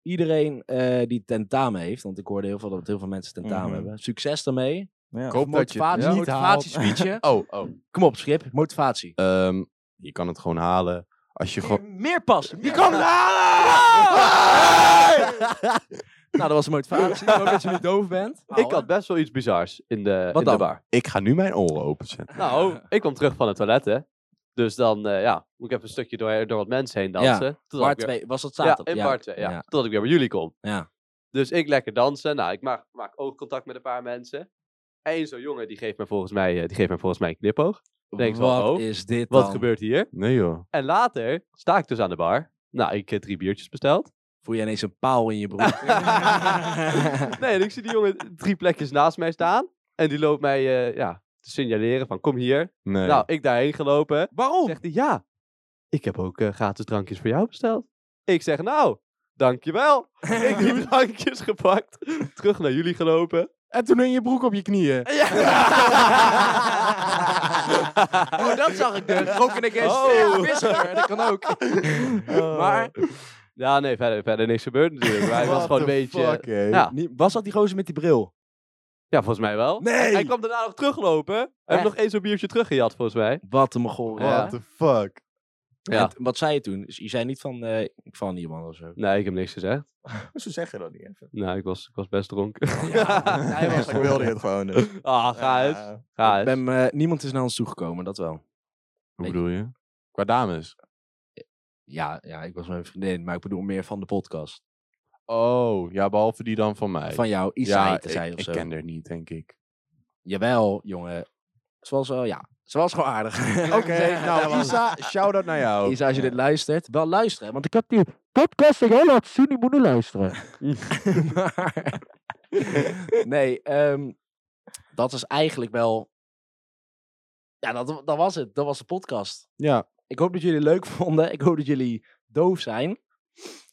[SPEAKER 1] iedereen eh, die tentamen heeft, want ik hoorde heel veel dat heel veel mensen tentamen
[SPEAKER 4] Mhm.
[SPEAKER 1] hebben. Succes daarmee.
[SPEAKER 4] Ja.
[SPEAKER 3] Ik hoop dat je het
[SPEAKER 1] Motivatie,
[SPEAKER 3] niet
[SPEAKER 1] motivatie
[SPEAKER 3] haalt.
[SPEAKER 1] speechje.
[SPEAKER 3] Oh, oh.
[SPEAKER 1] Kom op, schip. Motivatie.
[SPEAKER 3] Ehm, je kan het gewoon halen. Als je gewoon...
[SPEAKER 1] Meer, meer pas. Je kan
[SPEAKER 3] kan
[SPEAKER 1] het
[SPEAKER 3] het
[SPEAKER 1] halen! Nou, dat was de motivatie. Ik hoop dat je nu doof bent.
[SPEAKER 5] Ik had best wel iets bizars in de,
[SPEAKER 1] Wat
[SPEAKER 5] in de
[SPEAKER 1] dan?
[SPEAKER 5] bar.
[SPEAKER 3] Ik ga nu mijn oren openzetten.
[SPEAKER 5] Nou, ik kwam terug van het toilet, hè. Dus dan, eh, ja, moet ik even een stukje door, door wat mensen heen dansen. Totdat
[SPEAKER 1] Bar
[SPEAKER 5] ik weer-
[SPEAKER 1] 2, was dat
[SPEAKER 5] Ja,
[SPEAKER 1] zaterdag?
[SPEAKER 5] in bar twee, ja.
[SPEAKER 1] Ja.
[SPEAKER 5] Totdat ik weer bij jullie kom.
[SPEAKER 1] Ja.
[SPEAKER 5] Dus ik lekker dansen. Nou, ik maak, maak oogcontact met een paar mensen. Eén zo'n jongen, die geeft mij volgens mij, eh, die geeft mij volgens mij een knipoog. Denk ik wel,
[SPEAKER 1] Wat
[SPEAKER 5] oh,
[SPEAKER 1] is dit
[SPEAKER 5] Wat
[SPEAKER 1] dan?
[SPEAKER 5] gebeurt hier?
[SPEAKER 3] Nee joh.
[SPEAKER 5] En later sta ik dus aan de bar. Nou, ik heb drie biertjes besteld.
[SPEAKER 1] Voel je ineens een paal in je broek?
[SPEAKER 5] nee, en ik zie die jongen drie plekjes naast mij staan. En die loopt mij eh, ja, te signaleren van kom hier.
[SPEAKER 3] Nee.
[SPEAKER 5] Nou, ik daarheen gelopen.
[SPEAKER 1] Waarom?
[SPEAKER 5] Zegt hij ja, ik heb ook eh, gratis drankjes voor jou besteld. Ik zeg nou, dankjewel. ik heb drankjes gepakt. Terug naar jullie gelopen.
[SPEAKER 3] En toen in je broek op je knieën.
[SPEAKER 1] Oh, dat zag ik dus. Rokken ik eens.
[SPEAKER 5] Oh.
[SPEAKER 1] Ja, visser. Dat kan ook. Maar
[SPEAKER 5] Ja, nee, verder, verder niks gebeurd natuurlijk. Maar hij was
[SPEAKER 3] What
[SPEAKER 5] gewoon een
[SPEAKER 3] the
[SPEAKER 5] beetje...
[SPEAKER 3] fuck, hé.
[SPEAKER 5] ja.
[SPEAKER 1] die- was dat die gozer met die bril?
[SPEAKER 5] Ja, volgens mij wel.
[SPEAKER 1] Nee!
[SPEAKER 5] Hij kwam daarna nog teruglopen. Hij heeft
[SPEAKER 1] Echt?
[SPEAKER 5] nog eens zo'n biertje teruggejat, volgens mij.
[SPEAKER 1] Wat een mogol.
[SPEAKER 5] Ja.
[SPEAKER 3] What the fuck.
[SPEAKER 5] Ja.
[SPEAKER 1] En t- Wat zei je toen? Dus Je zei niet van, eh, ik val niet man of zo.
[SPEAKER 5] Nee, ik heb niks gezegd.
[SPEAKER 4] Ze zeggen dat niet even.
[SPEAKER 5] Nou, ik was, ik was best dronken.
[SPEAKER 1] hij was
[SPEAKER 4] Ik wilde het gewoon. dus.
[SPEAKER 5] Ah, ga
[SPEAKER 4] Ja,
[SPEAKER 5] eens. Ga
[SPEAKER 1] Ik
[SPEAKER 5] eens.
[SPEAKER 1] ben, eh, niemand is naar ons toegekomen, dat wel.
[SPEAKER 3] Hoe
[SPEAKER 1] Weet-
[SPEAKER 3] bedoel je? Qua dames.
[SPEAKER 1] Ja, ja, ik was met mijn vriendin, maar ik bedoel meer van de podcast.
[SPEAKER 3] Oh, ja, behalve die dan van mij.
[SPEAKER 1] Van jou, iets
[SPEAKER 3] ja,
[SPEAKER 1] te zijn
[SPEAKER 3] ik,
[SPEAKER 1] of zo.
[SPEAKER 3] ik ken er niet, denk ik.
[SPEAKER 1] Jawel, jongen. Ze was wel, ja, ze was gewoon aardig.
[SPEAKER 3] Oké, nou Isa, shout-out naar jou.
[SPEAKER 1] Isa, als je dit luistert, wel luisteren. Want ik heb die podcast al laten zien, die moeten luisteren. maar, nee, ehm, dat is eigenlijk wel... Ja, dat, dat was het. Dat was de podcast.
[SPEAKER 3] Ja,
[SPEAKER 1] Ik hoop dat jullie het leuk vonden. Ik hoop dat jullie doof zijn.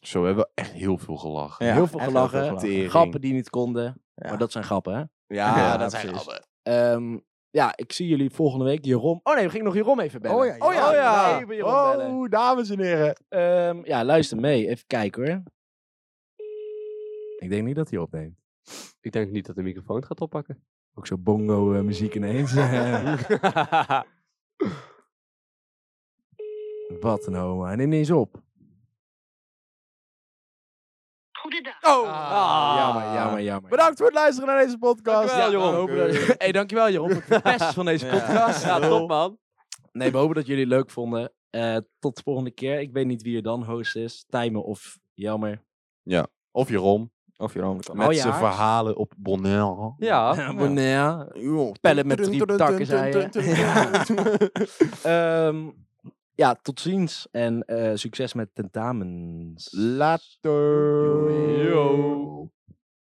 [SPEAKER 3] zo we hebben we echt heel veel gelachen.
[SPEAKER 4] Ja,
[SPEAKER 1] heel veel
[SPEAKER 4] echt
[SPEAKER 1] gelachen.
[SPEAKER 3] Tering.
[SPEAKER 1] Grappen die niet konden.
[SPEAKER 4] Ja.
[SPEAKER 1] Maar dat zijn grappen, hè?
[SPEAKER 3] Ja,
[SPEAKER 4] Ja,
[SPEAKER 3] dat zijn
[SPEAKER 4] precies.
[SPEAKER 3] grappen.
[SPEAKER 1] Ehm, ja, ik zie jullie volgende week. Jeroen. Oh nee, we gingen nog Jeroen even bellen.
[SPEAKER 4] Oh ja,
[SPEAKER 1] oh ja.
[SPEAKER 4] Jeroen.
[SPEAKER 1] ja.
[SPEAKER 5] Ja.
[SPEAKER 1] Jeroen bellen.
[SPEAKER 3] Oh, dames en heren.
[SPEAKER 1] Ehm, ja, luister mee. Even kijken hoor. Ik denk niet dat hij opneemt.
[SPEAKER 5] Ik denk niet dat de microfoon het gaat oppakken. Ah.
[SPEAKER 1] Ook zo bongo eh, muziek ineens. Eh, Wat een homo. En ineens op.
[SPEAKER 6] Goedendag.
[SPEAKER 1] Oh!
[SPEAKER 5] Ah.
[SPEAKER 1] Jammer, jammer, jammer.
[SPEAKER 4] Bedankt voor het luisteren naar deze podcast.
[SPEAKER 5] Dankjewel, Jeroen.
[SPEAKER 1] eh, we hopen dat- hey, dankjewel Jeroen voor het best van deze
[SPEAKER 4] Ja.
[SPEAKER 1] podcast.
[SPEAKER 5] Ja, top man.
[SPEAKER 1] Nee, we hopen dat jullie het leuk vonden. Eh, tot de volgende keer. Ik weet niet wie er dan host is. Tijmen of Jelmer.
[SPEAKER 3] Of Jeroen.
[SPEAKER 4] Of je rommel kan.
[SPEAKER 1] Oh,
[SPEAKER 3] Met
[SPEAKER 1] ja.
[SPEAKER 3] zijn verhalen op Bonaire.
[SPEAKER 5] Ah, Ja.
[SPEAKER 1] Abonneer. Pellen met drie takken, zei Ehm, ja, tot ziens. En eh, succes met tentamens.
[SPEAKER 3] Later.
[SPEAKER 1] Doei.